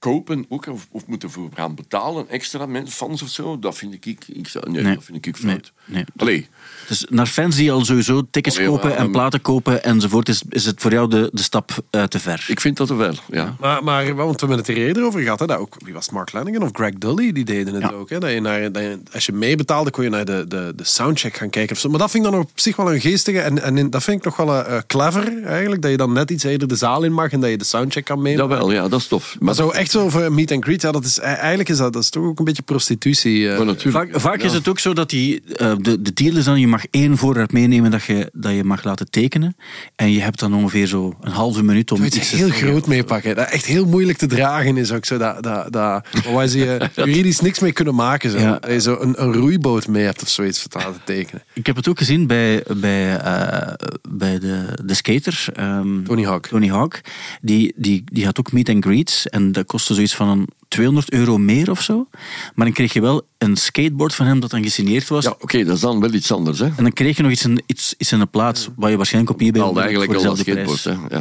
Speaker 3: kopen ook, of, of moeten voor gaan betalen, extra mensen, fans of zo, dat vind ik... ik, ik zou- nee,
Speaker 5: Nee.
Speaker 3: dat vind ik fout.
Speaker 5: Nee, nee.
Speaker 3: Allee,
Speaker 5: Dus naar fans die al sowieso tickets
Speaker 3: Allee,
Speaker 5: kopen
Speaker 3: maar,
Speaker 5: en
Speaker 3: ehm,
Speaker 5: platen kopen enzovoort, is, is het voor jou de, de stap eh, te ver?
Speaker 3: ik vind dat wel, ja.
Speaker 4: Maar, maar want we hebben het er eerder over gehad. Hè, dat ook, wie was het, Mark Lanigan of Greg Dully? Die deden het
Speaker 5: Ja.
Speaker 4: ook. Hè, dat je naar, dat je- als je meebetaalde, kon je naar de, de, de soundcheck gaan kijken. Of zo. Maar dat vind ik dan op zich wel een geestige. En, en in- dat vind ik nog wel eh, eh, clever eigenlijk. Dat je dan net iets eerder de zaal in mag en dat je de soundcheck kan meenemen.
Speaker 3: Dat wel, ja, dat is tof.
Speaker 4: Maar
Speaker 3: Maar,
Speaker 4: zo echt zo voor een meet and greet, ja, dat is, e-, eigenlijk is dat, dat is toch ook een beetje prostitutie. eh.
Speaker 3: maar natuurlijk...
Speaker 5: Vaak, vaak
Speaker 3: ja.
Speaker 5: is het ook zo dat die, eh, de, de deal is dan, je mag één voorraad meenemen dat je, dat je mag laten tekenen. En je hebt dan ongeveer zo een halve minuut om
Speaker 4: Moet je
Speaker 5: iets
Speaker 4: iets
Speaker 5: te
Speaker 4: heel groot meepakken. Dat echt heel moeilijk te dragen is ook zo. Dat, dat, dat, waar ze [LAUGHS] je juridisch niks mee kunnen maken. Zo.
Speaker 5: Ja.
Speaker 4: Dat je zo een, een roeiboot mee hebt of zoiets voor te laten tekenen.
Speaker 5: Ik heb het ook gezien bij, bij, eh, bij de, de skater. ehm,
Speaker 4: Tony Hawk.
Speaker 5: Tony Hawk. Die, die, die had ook meet and greets. En dat kostte zoiets van een 200 euro meer of zo. Maar dan kreeg je wel een skateboard van hem dat dan gesigneerd was.
Speaker 3: Ja, oké, dat is dan wel iets anders, hè.
Speaker 5: En dan kreeg je nog iets in, iets, iets in de plaats waar je waarschijnlijk op eBay
Speaker 3: Betaalde
Speaker 5: voor
Speaker 3: eigenlijk al
Speaker 5: dezelfde
Speaker 3: dat
Speaker 5: prijs.
Speaker 3: skateboard,
Speaker 5: Ja.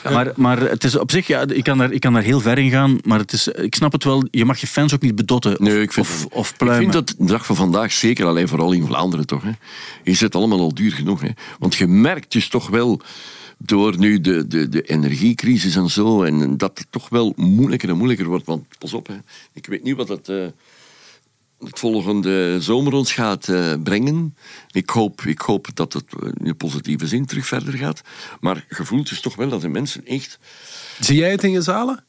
Speaker 3: hè. Ja.
Speaker 5: Maar, maar het is op zich, ja, ik, kan daar, ik kan daar heel ver in gaan, maar het is, ik snap het wel, je mag je fans ook niet bedotten of,
Speaker 3: Nee, ik vind,
Speaker 5: of, of pluimen.
Speaker 3: Ik vind dat de dag van vandaag, zeker alleen vooral in Vlaanderen toch, hè, is het allemaal al duur genoeg. Hè. Want je merkt dus toch wel, door nu de, de, de energiecrisis en zo, en dat het toch wel moeilijker en moeilijker wordt. Want pas op, hè, ik weet niet wat het, eh, het volgende zomer ons gaat eh, brengen. Ik hoop, ik hoop dat het eh, in een positieve zin terug verder gaat. Maar je voelt dus toch wel dat de mensen echt...
Speaker 4: [LAUGHS] Zie jij het in je zalen?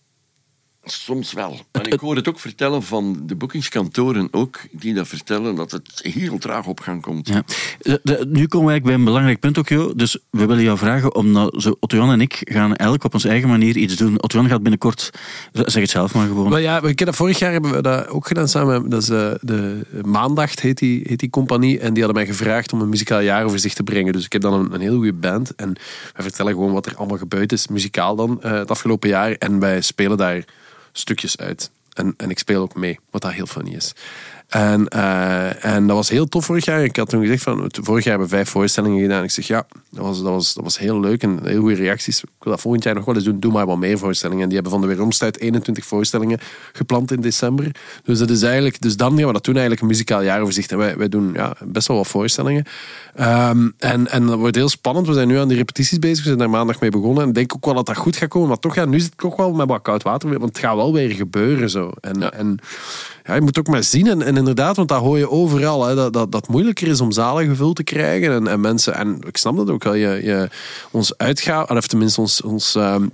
Speaker 3: Soms wel. En ik hoor het ook vertellen van de boekingskantoren ook, die dat vertellen, dat het heel traag op gang komt.
Speaker 5: Ja. Eh, De- de- nu komen we eigenlijk bij een belangrijk punt ook, Jo. Dus we willen jou vragen om... Nou, zo, Otto-Jan en ik gaan elk op onze eigen manier iets doen. Otto-Jan gaat binnenkort... Zeg het zelf maar gewoon.
Speaker 4: Wel ja, we kennen vorig jaar hebben we dat ook gedaan samen. Dat is eh, de Maandag heet die, heet die compagnie. En die hadden mij gevraagd om een muzikaal jaaroverzicht te brengen. Dus ik heb dan een, een heel goede band. En wij vertellen gewoon wat er allemaal gebeurd is, muzikaal dan, eh, het afgelopen jaar. En wij spelen daar stukjes uit. En, en ik speel ook mee, wat dat heel funny is. En, eh, en dat was heel tof vorig jaar. Ik had toen gezegd van, het- vorig jaar hebben we vijf voorstellingen gedaan. Ik zeg ja, dat was, dat was, dat was heel leuk en heel goede reacties. Ik wil dat volgend jaar nog wel eens doen. Doe maar wat meer voorstellingen. En die hebben van de Weeromstuit 21 voorstellingen gepland in december. Dus dat is eigenlijk, dus dan gaan we dat doen eigenlijk een muzikaal jaaroverzicht. En wij, wij doen ja, best wel wat voorstellingen. Ehm, en, en dat wordt heel spannend. We zijn nu aan die repetities bezig. We zijn daar maandag mee begonnen. En ik denk ook wel dat dat goed gaat komen. Maar toch, ja, nu zit het toch wel met wat koud water. Want het gaat wel weer gebeuren zo. En ja, en, ja, je moet ook maar zien. En, en inderdaad, want dat hoor je overal. Hè, dat, dat, dat het moeilijker is om zalen gevuld te krijgen. En, en mensen, en ik snap dat ook wel. Je, je, ons uitgaven, of tenminste ons, ons ehm,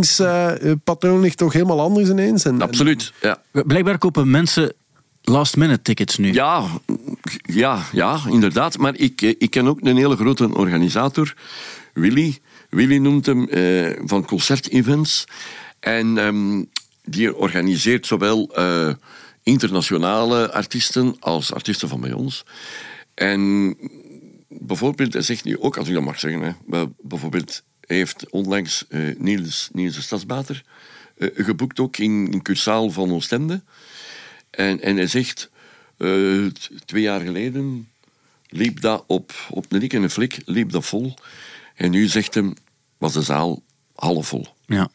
Speaker 4: bestedingspatroon ligt toch helemaal anders ineens. En, en-
Speaker 3: Absoluut. Ja.
Speaker 5: Blijkbaar kopen mensen last minute tickets nu.
Speaker 3: Ja, ja, ja, inderdaad. Maar ik, eh, ik ken ook een hele grote organisator, Willy. Willy noemt hem eh, van concertevents. En ehm, die organiseert zowel eh, internationale artiesten als artiesten van bij ons. En bijvoorbeeld, hij zegt nu ook, als ik dat mag zeggen, hè, maar bijvoorbeeld hij heeft onlangs eh, Niels, Niels de Stadsbater eh, geboekt, ook in, in Cursaal van Oostende. En, en hij zegt, eh, t- twee jaar geleden liep dat op, op een rik en een flik, liep dat vol. En nu zegt hem, was de zaal half vol.
Speaker 5: Ja.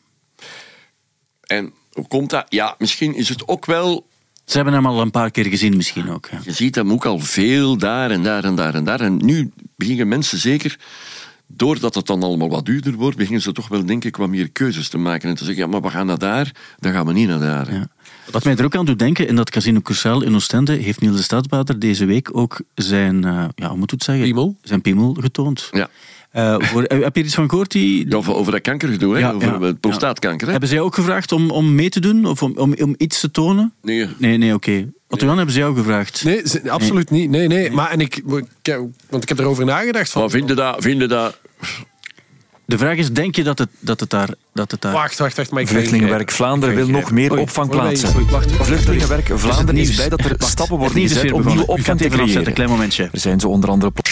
Speaker 3: En hoe komt dat? Ja, misschien is het ook wel
Speaker 5: Ze hebben hem al een paar keer gezien misschien ook. hè.
Speaker 3: Je ziet hem ook al veel daar en daar en daar en daar. En nu beginnen mensen zeker, doordat het dan allemaal wat duurder wordt, beginnen ze toch wel, denk ik, wat meer keuzes te maken. En te zeggen, ja, maar we gaan naar daar, dan gaan we niet naar daar.
Speaker 5: Ja. Wat mij er ook aan doet denken, in dat Casino Cursaal in Oostende heeft Niels de Stadsbater deze week ook zijn, eh, ja, hoe moet het zeggen?
Speaker 4: Piemel?
Speaker 5: Zijn piemel getoond.
Speaker 3: Ja.
Speaker 5: Eh, voor- eh, heb je er iets van gehoord? Die,
Speaker 3: Ja, over, over dat kankergedoe, hè?
Speaker 5: Ja,
Speaker 3: over
Speaker 5: ja,
Speaker 2: eh,
Speaker 3: het prostaatkanker. Hè?
Speaker 5: Hebben zij ook gevraagd om, om mee te doen? Of om, om, om iets te tonen?
Speaker 3: Nee,
Speaker 5: Nee, nee, oké. Otto Jan hebben zij ook gevraagd.
Speaker 4: Nee, ze- absoluut niet. Nee, nee. Maar en ik, ik- want ik heb erover nagedacht. Van,
Speaker 3: maar vinden dat, vinden dat...
Speaker 5: De vraag is, denk je dat het, dat het daar... Dat het daar...
Speaker 4: Wacht, wacht, wacht. Maar ik ga
Speaker 2: Vluchtelingenwerk
Speaker 4: ingrijpen.
Speaker 2: Vlaanderen
Speaker 4: Ik ga
Speaker 2: wil nog
Speaker 4: ingrijpen.
Speaker 2: meer
Speaker 4: Oei,
Speaker 2: opvangplaatsen.
Speaker 4: oei, wacht, wacht.
Speaker 2: Vluchtelingenwerk Vlaanderen is
Speaker 5: nieuws.
Speaker 2: bij dat er
Speaker 5: Wacht,
Speaker 2: stappen
Speaker 5: het
Speaker 2: worden
Speaker 5: nieuws is
Speaker 2: gezet
Speaker 5: weer
Speaker 2: om
Speaker 5: begonnen.
Speaker 2: nieuwe
Speaker 5: U
Speaker 2: opvang
Speaker 5: gaat
Speaker 2: te
Speaker 5: even afzetten,
Speaker 2: creëren.
Speaker 5: klein momentje.
Speaker 2: Er zijn zo onder andere... pla-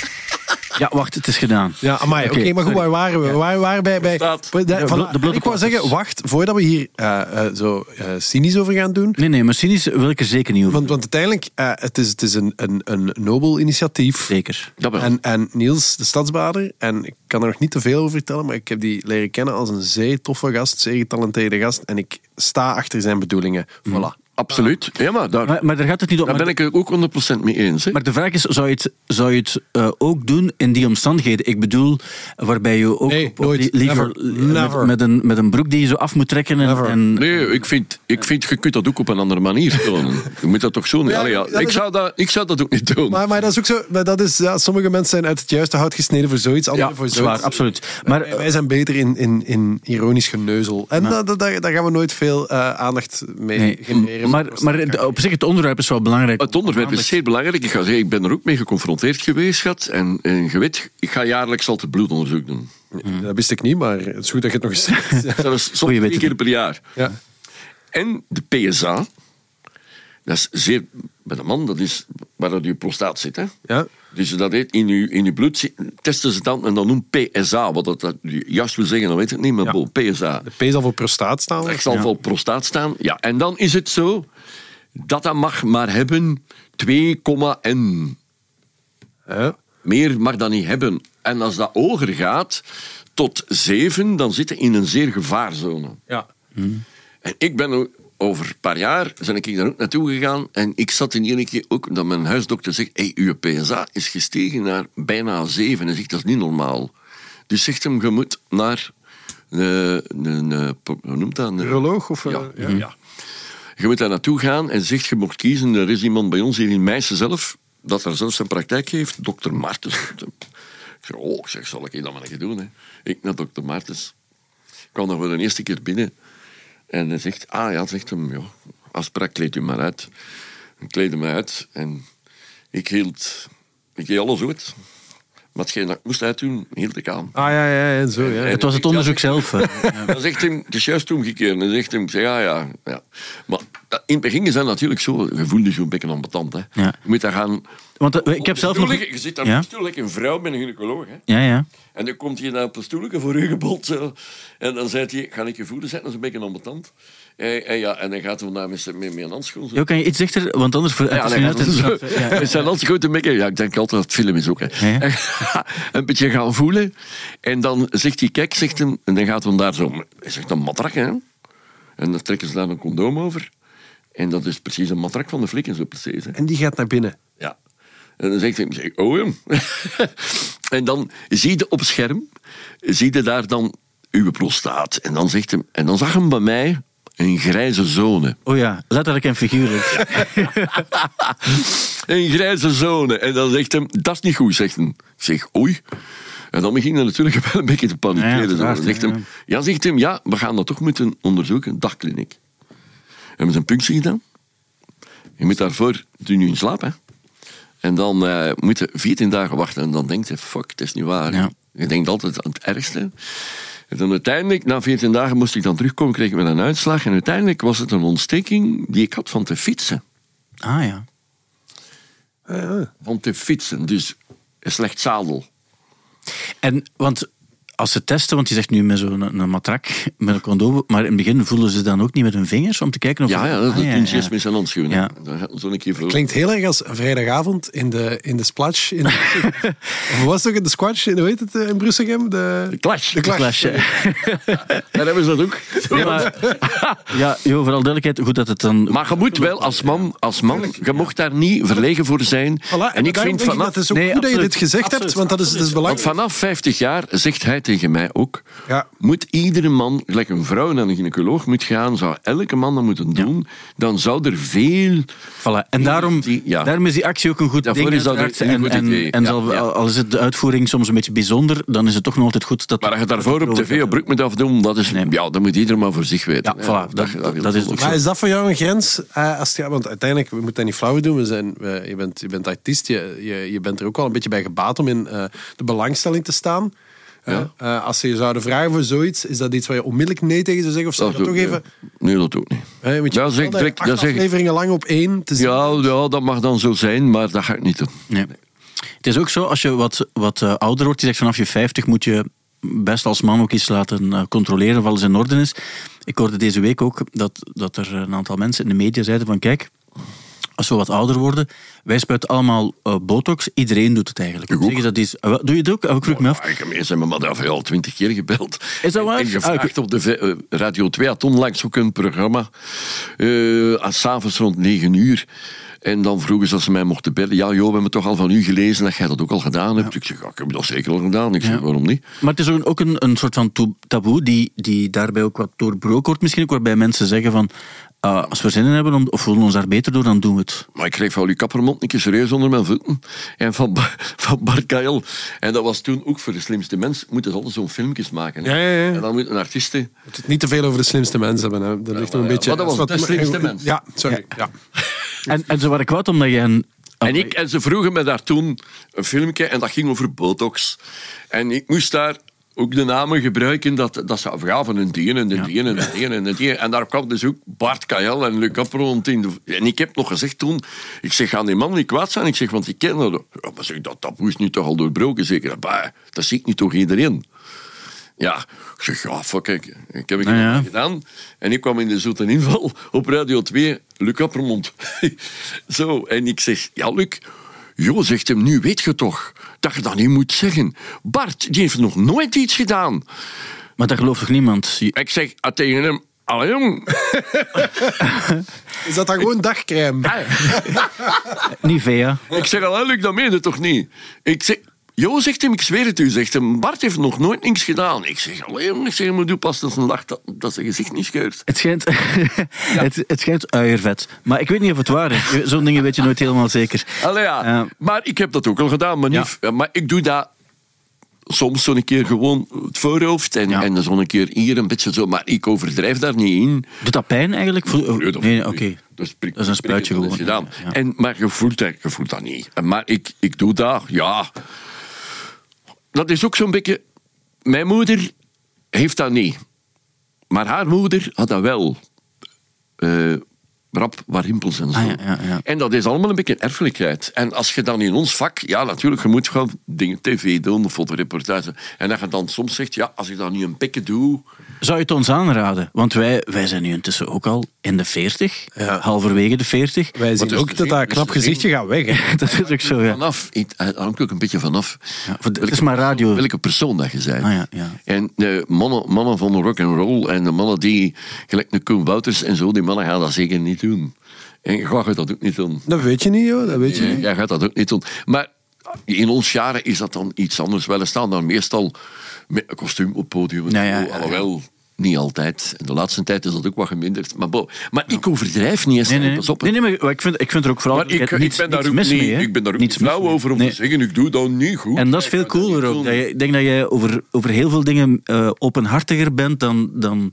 Speaker 5: Ja, wacht, het is gedaan.
Speaker 4: Ja, amai. Oké, maar goed, waar waren we? Waar waren we bij? bij
Speaker 3: Staat.
Speaker 4: bij-
Speaker 5: De
Speaker 4: van-
Speaker 5: blo- de blote
Speaker 4: ik wou
Speaker 5: platters.
Speaker 4: zeggen, wacht, voordat we hier eh, eh, zo eh, cynisch over gaan doen.
Speaker 5: Nee, nee, maar cynisch wil ik er zeker niet over.
Speaker 4: Want, want uiteindelijk, eh, het is, het is een, een, een nobel initiatief.
Speaker 5: Zeker.
Speaker 3: dat wel.
Speaker 4: En, en Niels, de stadsbader, en ik kan er nog niet te veel over vertellen, maar ik heb die leren kennen als een zeer toffe gast, zeer getalenteerde gast. En ik sta achter zijn bedoelingen.
Speaker 5: Mm.
Speaker 4: Voilà.
Speaker 3: Ah, Absoluut. Ja, maar daar,
Speaker 5: Maar, maar daar gaat het niet om.
Speaker 3: daar
Speaker 5: Maar-
Speaker 3: ben ik het ook 100% mee eens. Hè?
Speaker 5: Maar de vraag is, zou je het, zou je het eh, ook doen in die omstandigheden? Ik bedoel, waarbij je ook
Speaker 4: Nee,
Speaker 5: op- op
Speaker 4: nooit.
Speaker 5: li- liever
Speaker 4: Never.
Speaker 5: li-
Speaker 4: Never.
Speaker 5: Met, met een, met een broek die je zo af moet trekken. En,
Speaker 4: Never.
Speaker 5: en,
Speaker 3: Nee, ik vind, ik vind, je kunt dat ook op een andere manier tonen. Je moet dat toch zo...
Speaker 4: Ja,
Speaker 3: Allee, ja,
Speaker 4: dat
Speaker 3: ik,
Speaker 4: is-
Speaker 3: zou dat, ik zou dat ook niet doen.
Speaker 4: Maar, maar dat is ook zo. maar Dat is, ja, sommige mensen zijn uit het juiste hout gesneden voor zoiets, anderen
Speaker 5: ja,
Speaker 4: voor zoiets. Eh,
Speaker 5: zwaar, absoluut. Maar
Speaker 4: Wij- Wij zijn beter in, in, in ironisch geneuzel. En da- da- da- daar gaan we nooit veel eh, aandacht mee
Speaker 5: Nee,
Speaker 4: genereren.
Speaker 5: maar, maar het- op zich, het onderwerp is wel belangrijk.
Speaker 3: Het onderwerp is zeer belangrijk. Ik, ga zeggen, ik ben er ook mee geconfronteerd geweest, schat. En, en je weet, ik ga jaarlijks altijd bloedonderzoek doen.
Speaker 4: dat wist ik niet, maar het is goed dat je het nog eens zegt. [LAUGHS]
Speaker 3: Zelfs soms
Speaker 5: je weet
Speaker 3: drie
Speaker 5: het
Speaker 3: keer per jaar.
Speaker 4: Ja.
Speaker 3: En de PSA, dat is zeer... Bij de man, dat is waar dat je prostaat zit, hè.
Speaker 4: Ja.
Speaker 3: Dus dat heet, in je, in je bloed zi- testen ze dan en dan noemt PSA. Wat dat, dat juist wil zeggen, dan weet ik het niet, maar bon, PSA.
Speaker 4: De P zal voor prostaat staan.
Speaker 3: Er zal wel prostaat staan. Ja, en dan is het zo dat dat mag maar hebben 2,n.
Speaker 4: Ja.
Speaker 3: Meer mag dat niet hebben. En als dat hoger gaat, tot zeven, dan zitten in een zeer gevaarzone.
Speaker 4: Ja.
Speaker 3: En ik ben ook- over een paar jaar, ben ik daar ook naartoe gegaan. En ik zat in iedere keer ook, dat mijn huisdokter zegt, hey, uw PSA is gestegen naar bijna zeven. En zegt, dat is niet normaal. Dus zegt hem, je moet naar, eh, een, eh, pro- hoe noemt dat? Een-
Speaker 4: Uroloog of... eh,
Speaker 3: ja, ja. Je moet daar naartoe gaan en zegt, je mocht kiezen. Er is iemand bij ons hier in Meissen zelf, dat er zelf zijn praktijk heeft, dokter Martens. ik zeg, oh, ik zeg, zal ik dat maar niet doen. Hè? Ik naar dokter Martens. Ik kwam daar voor de eerste keer binnen. En hij zegt, ah ja, zegt hem, ja, afspraak, kleed u maar uit. Ik kleedde me uit en ik hield, ik deed alles goed. Maar hetgeen dat ik moest uitdoen, hield ik aan.
Speaker 4: Ah ja, ja, ja, zo. Ja.
Speaker 5: het was het onderzoek zelf. eh. hè. Ja.
Speaker 3: Dan zegt hem, het is juist omgekeerd. Dan zegt hem, ik zeg, ja, ja, ja. Maar dat- in het begin is dat natuurlijk zo, je voelde je zo'n beetje ambetant. Hè.
Speaker 5: Ja.
Speaker 3: Je moet daar gaan...
Speaker 5: Want eh, ik heb zelf
Speaker 3: Op de
Speaker 5: nog...
Speaker 3: stoel liggen. Je zit daar op
Speaker 5: Ja,
Speaker 3: een stoel, like een vrouw met een gynaecoloog. Hè.
Speaker 5: ja. ja.
Speaker 3: En dan komt hij naar op een stoelje voor u gebold. Zo. En dan zegt hij, ga ik je voelen zetten, dat is een beetje ambetant. En, en, ja, en dan gaat hij naar met, zijn- met, met een handschoen. Zo.
Speaker 5: Jo, kan je iets dichter... Want anders... ver-
Speaker 3: Ja,
Speaker 5: het is
Speaker 3: nee,
Speaker 5: nu
Speaker 3: dat
Speaker 5: net
Speaker 3: is
Speaker 5: een-
Speaker 3: zo. [LAUGHS]
Speaker 5: Ja.
Speaker 3: Het zijn altijd grote mekken. Ja, ik denk altijd dat het film is ook. Hè. [LAUGHS]
Speaker 5: Ja,
Speaker 3: een beetje gaan voelen. En dan zegt hij, kijk, zegt hem, en dan gaat hem daar zo... Hij zegt een matrak, hè. En dan trekken ze daar een condoom over. En dat is precies een matrak van de flikken, zo precies. Hè.
Speaker 4: En die gaat naar binnen.
Speaker 3: Ja. En dan zegt hij, zeg ik, oh ja. [LAUGHS] en dan zie je op het scherm, zie je daar dan uw prostaat. En dan zegt hem, en dan zag hem bij mij, Een grijze zone.
Speaker 5: Oh ja, letterlijk en figuurlijk.
Speaker 3: Een grijze zone. En dan zegt hem, dat is niet goed, zegt hem. Ik zeg, oei. En dan begint hij natuurlijk wel een beetje te
Speaker 5: Ja, ja,
Speaker 3: panikeren.
Speaker 5: dat is waar,
Speaker 3: dan zegt
Speaker 5: ja,
Speaker 3: hem, ja, zegt hem, ja, we gaan dat toch moeten onderzoeken, dagkliniek. Hebben ze een punctie gedaan. Je moet daarvoor, doe nu in slaap, hè. En dan eh moet je 14 dagen wachten. En dan denkt je, fuck, het is niet waar.
Speaker 5: Ja.
Speaker 3: Je denkt altijd aan het ergste. En dan uiteindelijk, na 14 dagen, moest ik dan terugkomen, kreeg ik met een uitslag. En uiteindelijk was het een ontsteking die ik had van te fietsen
Speaker 5: Ah ja.
Speaker 3: om te fietsen. Dus een slecht zadel.
Speaker 5: En want als ze testen, want je zegt nu met zo'n een, matrak, met een condoom, maar in het begin voelen ze dan ook niet met hun vingers om te kijken of...
Speaker 3: Ja, ja, dat is
Speaker 5: Ah,
Speaker 3: een tientje is
Speaker 5: ja.
Speaker 3: met zijn handschoenen.
Speaker 5: Ja.
Speaker 3: Dan gaat zo'n keer voor.
Speaker 4: Klinkt heel erg als een vrijdagavond in de, in de splash. In de, of was het ook in de squash? In, hoe heet het eh, in Brussegem? De,
Speaker 3: De clash.
Speaker 4: de clash.
Speaker 5: Clash, hè.
Speaker 3: [LAUGHS] Daar hebben ze dat ook.
Speaker 5: Nee, maar- ja, joh, vooral duidelijkheid, goed dat het dan...
Speaker 3: Maar je moet wel als man, als man je mocht daar niet verlegen voor zijn.
Speaker 4: Voilà,
Speaker 3: en ik
Speaker 4: daarom
Speaker 3: vind
Speaker 4: denk
Speaker 3: vanaf,
Speaker 4: dat het is ook
Speaker 5: Nee,
Speaker 4: goed dat je
Speaker 5: absoluut.
Speaker 4: dit gezegd hebt,
Speaker 5: Absoluut,
Speaker 4: want dat is, dat is
Speaker 3: want
Speaker 4: belangrijk.
Speaker 3: vanaf 50 jaar zegt hij tegen mij ook:
Speaker 4: Ja.
Speaker 3: moet iedere man, gelijk een vrouw naar een gynaecoloog moet gaan, zou elke man dat moeten doen, dan zou er veel
Speaker 5: Voilà. En daarom,
Speaker 3: Die- ja.
Speaker 5: daarom is die actie ook een goed
Speaker 3: Daarvoor
Speaker 5: ding.
Speaker 3: is dat
Speaker 5: uiteraard.
Speaker 3: een
Speaker 5: en,
Speaker 3: goed
Speaker 5: en,
Speaker 3: idee.
Speaker 5: en
Speaker 3: Ja,
Speaker 5: zal-
Speaker 3: ja.
Speaker 5: al is het de uitvoering soms een beetje bijzonder, dan is het toch nog altijd goed dat...
Speaker 3: Maar als je daarvoor op
Speaker 5: dat-
Speaker 3: tv op broek moet afdoen, dat, is, ja, dat moet ieder maar voor zich weten.
Speaker 5: Ja, voilà, dat- dat is ook zo.
Speaker 4: Maar is dat voor jou een grens? eh, als het, want uiteindelijk, we moeten dat niet flauw doen. We zijn, we- je, bent, je bent artiest, je, je, je bent er ook wel een beetje bij gebaat om in eh, de belangstelling te staan. Eh, eh, als ze je zouden vragen voor zoiets, is dat iets waar je onmiddellijk nee tegen zou zeggen? Of zou je dat toch
Speaker 3: doe ik
Speaker 4: even...
Speaker 3: niet. Nee, dat doe ik niet.
Speaker 4: hè, want je
Speaker 3: dat zeg ik
Speaker 4: vertelde
Speaker 3: direct,
Speaker 4: acht
Speaker 3: dat zeg ik,
Speaker 4: afleveringen lang op één te zien.
Speaker 3: ja, ja, dat mag dan zo zijn, maar dat ga ik niet doen.
Speaker 5: Nee. Het is ook zo, als je wat, wat eh, ouder wordt, je zegt vanaf je 50 moet je best als man ook eens laten eh, controleren of alles in orde is. Ik hoorde deze week ook dat, dat er een aantal mensen in de media zeiden van kijk, als we wat ouder worden, wij spuiten allemaal eh, botox, iedereen doet het eigenlijk.
Speaker 3: Ik ook.
Speaker 5: Zeg je dat is, eh, wel, doe je het ook? Oh, ik vroeg me af.
Speaker 3: Ja, ik heb eerst mijn madame al twintig keer gebeld.
Speaker 5: Is dat waar?
Speaker 3: En
Speaker 5: Ah,
Speaker 3: gevraagd
Speaker 5: oké.
Speaker 3: op de ve- eh, Radio 2 had onlangs ook een programma. eh, als 's S'avonds rond 9 uur. En dan vroegen ze als ze mij mochten bellen. Ja, joh, we hebben toch al van u gelezen dat jij dat ook al gedaan hebt. Ik zeg, ja, ik heb dat zeker al gedaan. Ik zeg, waarom niet?
Speaker 5: Maar het is ook een- ook een, een soort van toe- taboe die, die daarbij ook wat doorbroken wordt misschien ook, waarbij mensen zeggen van eh, als we zin in hebben om, of voelen ons daar beter door, dan doen we het.
Speaker 3: Maar ik kreeg van Luc Kappermond een keer serieus onder mijn voeten. En van, Ba- van Bart Kael. En dat was toen ook voor de slimste mens. Moeten ze altijd zo'n filmpjes maken. hè.
Speaker 4: Ja, ja, ja.
Speaker 3: En dan moet een artieste...
Speaker 4: Je moet het niet te veel over de slimste mensen hebben. Hè. Dat ligt nog een
Speaker 3: ja,
Speaker 4: beetje...
Speaker 3: maar dat was
Speaker 4: wat-
Speaker 3: de slimste mens.
Speaker 4: Ja, sorry. Ja.
Speaker 5: En, en ze waren kwaad omdat je hen...
Speaker 4: Ah,
Speaker 3: En, ik, en ze vroegen me daar toen een filmpje en dat ging over botox. En ik moest daar ook de namen gebruiken dat, dat ze afgaven en die en de die en de die en de die. En daar kwam dus ook Bart Kajal en Luc Apperond in. de- en ik heb nog gezegd toen, ik zeg, gaan die man niet kwaad zijn? Ik zeg, want ik ken dat. Ja, maar zeg, dat taboe is nu toch al doorbroken, zeker? Bah, dat ziet nu toch iedereen? Ja, ik zeg, ja, fuck, ik, ik heb het
Speaker 5: Nou ja.
Speaker 3: gedaan. En ik kwam in de zoete inval op Radio 2, Luc Appermond. [LAUGHS] Zo, en ik zeg, ja, Luc, joh, zegt hem, nu weet je toch dat je dat niet moet zeggen. Bart, die heeft nog nooit iets gedaan.
Speaker 5: Maar dat gelooft toch niemand? Je-
Speaker 3: Ik zeg ah, tegen hem, allee jong. [LAUGHS]
Speaker 4: Is dat dan gewoon dagcrème?
Speaker 5: Nivea.
Speaker 3: Ik zeg, allee Luc, dat meen je toch niet? Ik zeg... Jo, zegt hem, ik zweer het u, zegt hem, Bart heeft nog nooit niks gedaan. Ik zeg, allee jong, ik zeg, maar doe pas dat een dag dat, dat zijn gezicht niet scheurt.
Speaker 5: Het schijnt, [LAUGHS] het, het schijnt uiervet. Maar ik weet niet of het waar is. Zo'n dingen weet je nooit helemaal zeker.
Speaker 3: Allee, ja.
Speaker 5: Eh,
Speaker 3: maar ik heb dat ook al gedaan. Maar, niet, maar ik doe dat soms zo'n keer gewoon het voorhoofd. En,
Speaker 5: Ja.
Speaker 3: en zo'n keer hier een beetje zo. Maar ik overdrijf daar niet in.
Speaker 5: doet dat pijn eigenlijk? Voel-
Speaker 3: Nee, dat-
Speaker 5: Nee, oké.
Speaker 3: Dat is, prik-
Speaker 5: Dat is een spuitje
Speaker 3: prikken, dat is
Speaker 5: gewoon.
Speaker 3: gedaan.
Speaker 5: Ja, ja.
Speaker 3: En, maar je voelt, dat, je voelt dat niet. En Maar ik, ik doe dat, ja. Dat is ook zo'n beetje... Mijn moeder heeft dat niet. Maar haar moeder had dat wel. Eh rap, warhimpels en zo.
Speaker 5: Ah, ja, ja, ja.
Speaker 3: En dat is allemaal een beetje erfelijkheid. En als je dan in ons vak... Ja, natuurlijk, je moet gewoon dingen tv doen, fotoreportage. En dat je dan soms zegt, ja, als ik dat nu een beetje doe...
Speaker 5: Zou je het ons aanraden? Want wij, wij zijn nu intussen ook al in de 40, halverwege de 40.
Speaker 4: Wij zien
Speaker 3: is
Speaker 4: ook
Speaker 3: te
Speaker 4: dat
Speaker 3: zien,
Speaker 4: dat
Speaker 3: is
Speaker 4: knap
Speaker 3: te zien.
Speaker 4: gezichtje gaat weg. Hè.
Speaker 5: [LAUGHS] Dat is ook zo, ja.
Speaker 3: Vanaf, het hangt ook een beetje vanaf.
Speaker 5: Ja, voor de- het is maar radio.
Speaker 3: Welke persoon dat je bent.
Speaker 5: Ah, ja, ja.
Speaker 3: En de mannen, mannen van de rock and roll en de mannen die, gelijk de Koen Wouters en zo, die mannen gaan dat zeker niet doen. En jij gaat dat ook niet doen.
Speaker 4: Dat weet je niet, joh. Dat weet je niet.
Speaker 3: Jij gaat dat ook niet doen. Maar in ons jaren is dat dan iets anders. Wel, er staan dan meestal met een kostuum op het podium. en
Speaker 5: Ja, ja,
Speaker 3: zo,
Speaker 5: ja, ja.
Speaker 3: alhoewel, niet altijd. En de laatste tijd is dat ook wat geminderd. Maar, bo, maar ik overdrijf niet eens.
Speaker 5: Nee, nee, nee.
Speaker 3: Pas op.
Speaker 5: nee, nee, maar ik vind, ik vind er ook vooral
Speaker 3: Maar ik,
Speaker 5: niets,
Speaker 3: ik ben daar
Speaker 5: niets
Speaker 3: ook
Speaker 5: mis
Speaker 3: niet,
Speaker 5: mee, hè.
Speaker 3: ik ben daar ook
Speaker 5: Niets
Speaker 3: niet flauw
Speaker 5: mis mee.
Speaker 3: over om
Speaker 5: Nee.
Speaker 3: te zeggen, ik doe dat niet goed.
Speaker 5: En dat is veel
Speaker 3: Ik ben daar
Speaker 5: cooler
Speaker 3: niet zo'n-
Speaker 5: ook. Dat je- ik denk dat jij over, over heel veel dingen eh, openhartiger bent dan, dan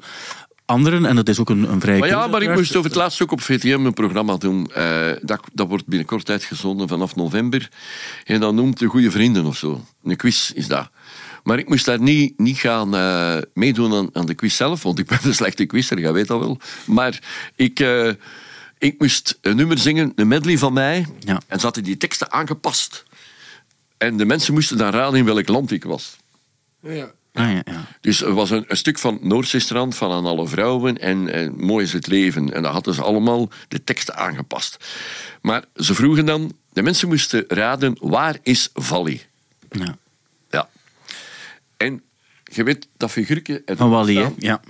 Speaker 5: anderen. En dat is ook een, een vrij
Speaker 3: Maar ja,
Speaker 5: keuze,
Speaker 3: maar ik
Speaker 5: uiteraard.
Speaker 3: moest over het laatst ook op VTM een programma doen. Eh, dat, dat wordt binnenkort uitgezonden vanaf november. En dat noemt De Goede Vrienden of zo. Een quiz is dat. Maar ik moest daar niet, niet gaan eh, meedoen aan, aan de quiz zelf, want ik ben een slechte quizzer, jij weet dat wel. Maar ik, eh, ik moest een nummer zingen, een medley van mij.
Speaker 5: Ja.
Speaker 3: En zaten die teksten aangepast. En de mensen moesten dan raden in welk land ik was.
Speaker 5: Ah, ja, ja.
Speaker 3: Dus er was een, een stuk van Noordzeestrand van aan alle vrouwen en, en Mooi is het leven. En dat hadden ze allemaal de teksten aangepast. Maar ze vroegen dan, de mensen moesten raden, waar is Valley?
Speaker 5: Ja.
Speaker 3: Ja. En je weet dat figuurtje... het-
Speaker 5: Van Wally, hè? Ja.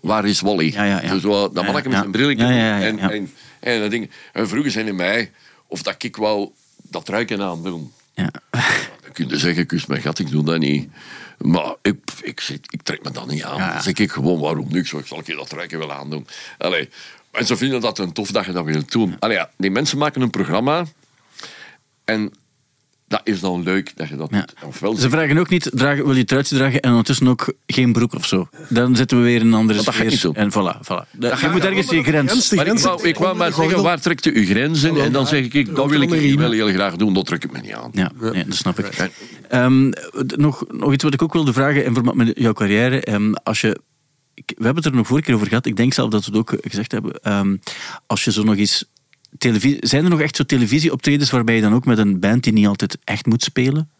Speaker 3: Waar is Wally?
Speaker 5: Ja, ja, ja.
Speaker 3: Dus wel,
Speaker 5: Ja,
Speaker 3: dat mannetje
Speaker 5: ja.
Speaker 3: met zijn brilletje.
Speaker 5: Ja, ja, ja, ja.
Speaker 3: en, En, en, dat ding. en vroegen ze aan mij of dat ik wou dat ruiken aan doen.
Speaker 5: ja.
Speaker 3: Je kunt dus zeggen, kus mijn gat, ik doe dat niet. Maar ik, ik, zit, ik trek me dat niet aan.
Speaker 5: Ja.
Speaker 3: Dan zeg ik gewoon, waarom niks? Ik zal ik je dat trekken wel aandoen. Allee. En ze vinden dat een tof dat je dat wilt doen. Allee, ja, die mensen maken een programma. En dat is dan leuk dat je dat
Speaker 5: Ja.
Speaker 3: doet. Ofwel,
Speaker 5: Ze vragen ook niet, dragen, wil je het truitje dragen en ondertussen ook geen broek of zo. Dan zitten we weer in een andere
Speaker 3: Maar dat ga ik
Speaker 5: sfeer.
Speaker 3: niet doen.
Speaker 5: En voilà, voilà. je
Speaker 3: ga
Speaker 5: moet
Speaker 3: ik
Speaker 5: ergens die grens.
Speaker 4: grens-
Speaker 3: maar ik wou, ik wou maar zeggen, waar trekt u uw grenzen? En dan zeg ik, ik, dat wil ik wel heel graag doen, dat trek ik me niet aan.
Speaker 5: Ja, nee, dat snap ik.
Speaker 3: En-
Speaker 5: Ehm, d- nog, nog iets wat ik ook wilde vragen in verband met jouw carrière. Ehm, als je, ik- we hebben het er nog vorige keer over gehad. Ik denk zelf dat we het ook eh, gezegd hebben. Ehm, als je zo nog eens. Televisie, zijn er nog echt zo televisieoptredens waarbij je dan ook met een band die niet altijd echt moet spelen,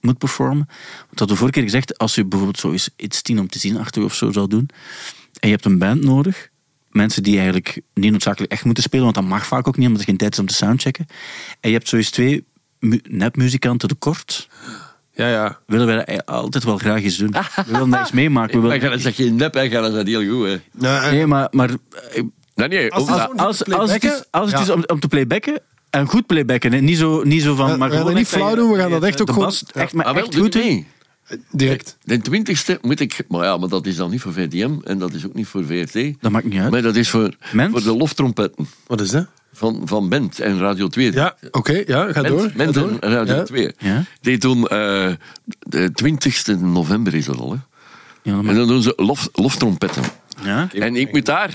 Speaker 5: moet performen? Want dat hadden we vorige keer gezegd, als je bijvoorbeeld zo eens iets tien om te zien achter je of zo zou doen, en je hebt een band nodig, mensen die eigenlijk niet noodzakelijk echt moeten spelen, want dat mag vaak ook niet, omdat er geen tijd is om te soundchecken. En je hebt zoiets twee mu- nepmuzikanten tekort
Speaker 4: Ja, ja.
Speaker 5: willen wij dat eigenlijk altijd wel graag eens doen. We willen daar iets meemaken. We
Speaker 3: Maar
Speaker 5: willen...
Speaker 3: Gerrit, zeg je nep, hè, Gerrit, dat is heel goed. Hè.
Speaker 4: Nou,
Speaker 5: Nee, maar, maar eh,
Speaker 3: Nee, nee,
Speaker 4: Als
Speaker 3: ook
Speaker 4: het
Speaker 3: dat-
Speaker 4: zo-
Speaker 5: als, als, het
Speaker 4: playbacken?
Speaker 5: is, als het
Speaker 4: Ja.
Speaker 5: is om, om te playbacken, en goed playbacken, hè. Niet, zo, niet zo van...
Speaker 4: We-
Speaker 5: maar
Speaker 4: we gaan
Speaker 5: gewoon
Speaker 4: dat niet
Speaker 5: echt
Speaker 4: flauw
Speaker 5: je-
Speaker 4: doen, we gaan dat
Speaker 5: je-
Speaker 4: echt ook
Speaker 5: de
Speaker 4: goed-
Speaker 5: bas
Speaker 4: Ja.
Speaker 5: echt, maar
Speaker 3: Ah, wel,
Speaker 5: echt
Speaker 3: doe
Speaker 5: goed
Speaker 3: het
Speaker 5: doen.
Speaker 3: mee.
Speaker 4: Direct.
Speaker 3: De twintigste moet ik... Maar ja, maar dat is dan niet voor VDM en dat is ook niet voor VRT.
Speaker 5: Dat maakt niet uit.
Speaker 3: Maar dat is voor,
Speaker 5: Mens?
Speaker 3: voor de loftrompetten
Speaker 4: Wat is dat?
Speaker 3: van, van Bent en Radio 2.
Speaker 4: Ja, oké. ja, ga door.
Speaker 3: Bent, Bent
Speaker 4: ga door.
Speaker 3: en Radio
Speaker 4: Ja.
Speaker 3: 2.
Speaker 5: Ja.
Speaker 3: Die doen... eh de 20ste november is dat al, hè.
Speaker 5: Ja, dat
Speaker 3: En
Speaker 5: maakt-
Speaker 3: dan doen ze lof, loftrompetten.
Speaker 5: ja?
Speaker 3: En ik moet daar...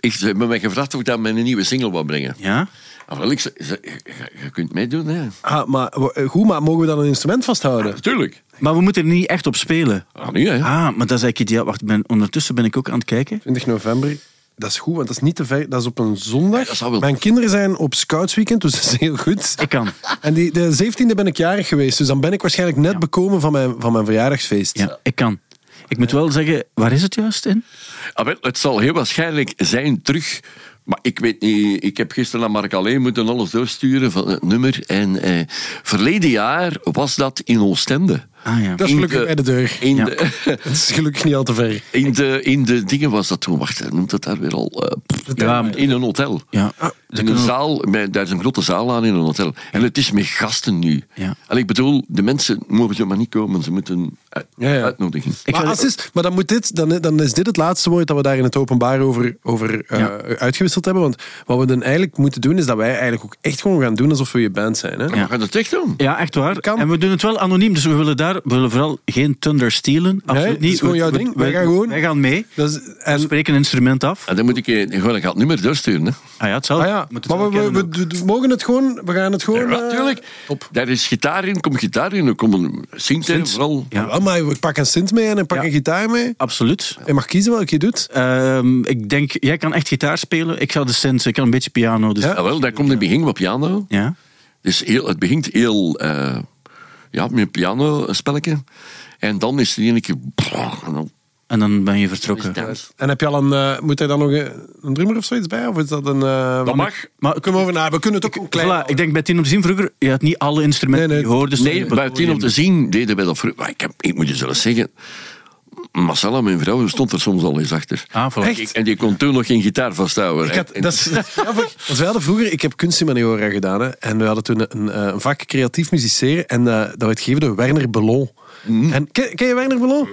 Speaker 3: Ik, ze hebben mij gevraagd of ik daar mijn nieuwe single wou brengen.
Speaker 5: Ja?
Speaker 3: Ah, wel, ik zei, ze- je, je kunt meedoen, hè.
Speaker 4: Ah, maar, w- goed, maar mogen we dan een instrument vasthouden?
Speaker 3: Natuurlijk.
Speaker 5: Maar we moeten er niet echt op spelen.
Speaker 3: Ah, nu, hè.
Speaker 5: Ah, maar dat is eigenlijk ideaal. Wacht, ik ben, ondertussen ben ik ook aan het kijken.
Speaker 4: 20 november. Dat is goed, want dat is niet te ver. Dat is op een zondag.
Speaker 3: dat zou wel-
Speaker 4: Mijn kinderen zijn op scoutsweekend, dus dat is heel goed.
Speaker 5: Ik kan.
Speaker 4: En die, de 17e ben ik jarig geweest, dus dan ben ik waarschijnlijk net bekomen van mijn, van mijn verjaardagsfeest.
Speaker 5: Ja, ik kan. Ik moet wel zeggen, waar is het juist in?
Speaker 3: Ah, wel, het zal heel waarschijnlijk zijn terug. Maar ik weet niet, ik heb gisteren aan Mark Alleen moeten alles doorsturen van het nummer. En eh, verleden jaar was dat in Oostende.
Speaker 5: Ah ja.
Speaker 4: Dat is
Speaker 3: In
Speaker 4: gelukkig
Speaker 3: de-
Speaker 4: bij de deur.
Speaker 3: In,
Speaker 5: Ja.
Speaker 3: de, [LAUGHS]
Speaker 4: Het is gelukkig niet al te ver.
Speaker 3: in, de, in de dingen was dat toen, wacht, hij noemt dat daar weer al? eh, pff,
Speaker 5: Ja, maar-
Speaker 3: in een hotel.
Speaker 5: Ja. Ah, Ze
Speaker 3: In een
Speaker 5: kunnen-
Speaker 3: zaal, met- daar is een grote zaal aan in een hotel. En het is met gasten nu.
Speaker 5: Ja.
Speaker 3: En ik bedoel, de mensen mogen zomaar niet komen, ze moeten uit-
Speaker 4: Ja, ja.
Speaker 3: uitnodigen.
Speaker 5: Ik
Speaker 4: maar,
Speaker 5: ga-
Speaker 4: als is, maar dan, moet dit, dan, dan is dit het laatste woord dat we daar in het openbaar over, over eh,
Speaker 5: Ja.
Speaker 4: uitgewisseld hebben. Want wat we dan eigenlijk moeten doen, is dat wij eigenlijk ook echt gewoon gaan doen alsof we je band zijn. Hè?
Speaker 3: Maar gaat het echt doen?
Speaker 5: Ja, echt waar.
Speaker 4: Kan.
Speaker 5: En we doen het wel anoniem, dus we willen daar we willen vooral geen thunder stelen. Absoluut
Speaker 4: Nee,
Speaker 5: niet.
Speaker 4: dat is gewoon
Speaker 5: We-
Speaker 4: jouw
Speaker 5: we-
Speaker 4: ding.
Speaker 5: we-
Speaker 4: Wij gaan gewoon-
Speaker 5: Wij gaan mee.
Speaker 4: Dat is,
Speaker 5: We
Speaker 4: en,
Speaker 5: spreken een instrument af.
Speaker 3: En dan moet ik, eh, gewoon, ik ga het nummer doorsturen. Hè.
Speaker 5: Ah ja, hetzelfde.
Speaker 4: ah ja,
Speaker 5: Moet het
Speaker 4: maar
Speaker 5: wel
Speaker 4: we, we,
Speaker 5: kennen
Speaker 4: we d- d- mogen het gewoon, we gaan het gewoon...
Speaker 3: Ja,
Speaker 4: eh,
Speaker 3: natuurlijk. Daar is gitaar in, komt gitaar in, er komen synth in, vooral.
Speaker 5: Ja.
Speaker 4: Wel, maar we pakken een synth mee en ik pak
Speaker 5: Ja.
Speaker 4: een gitaar mee.
Speaker 5: ook. Absoluut.
Speaker 4: Je mag kiezen welke je doet.
Speaker 5: Ehm, ik denk, jij kan echt gitaar spelen. Ik ga de synths, ik kan een beetje piano. Dus,
Speaker 3: Ah, wel, daar komt een begin wat piano.
Speaker 5: Ja.
Speaker 3: Dus heel, het begint heel, eh, ja, met een piano spelletje. En dan is er een keer... En dan
Speaker 5: En dan ben je
Speaker 3: is het
Speaker 5: vertrokken.
Speaker 3: dans.
Speaker 4: En heb je al een, eh, moet er dan nog een, een drummer of zoiets bij? Of is dat een... eh, wat-
Speaker 3: mag.
Speaker 5: Maar
Speaker 4: We kunnen over na. We kunnen het ook een klein...
Speaker 5: Voilà, ik denk bij Tien op Zien vroeger, je had niet alle instrumenten
Speaker 4: Nee, nee.
Speaker 5: die je hoorde. stonden
Speaker 3: Nee,
Speaker 5: op het
Speaker 3: bij Tien om te
Speaker 5: podium.
Speaker 3: zien deden wij dat vroeger. Maar ik, heb, ik moet je zelfs zeggen... Marcella, mijn vrouw, stond er soms al eens achter.
Speaker 5: Ah, voilà.
Speaker 3: Ik- En die kon toen nog geen gitaar vasthouden.
Speaker 4: Ik had, dat is
Speaker 3: [LAUGHS]
Speaker 4: dat is [LAUGHS] grappig. Want wij hadden vroeger, ik heb kunsthumanioren gedaan. Hè, en we hadden toen een, eh, een vak creatief
Speaker 3: Mm.
Speaker 4: musiceren. En eh, dat werd gegeven door Werner Bellon. En, ken, ken je Werner Bellon?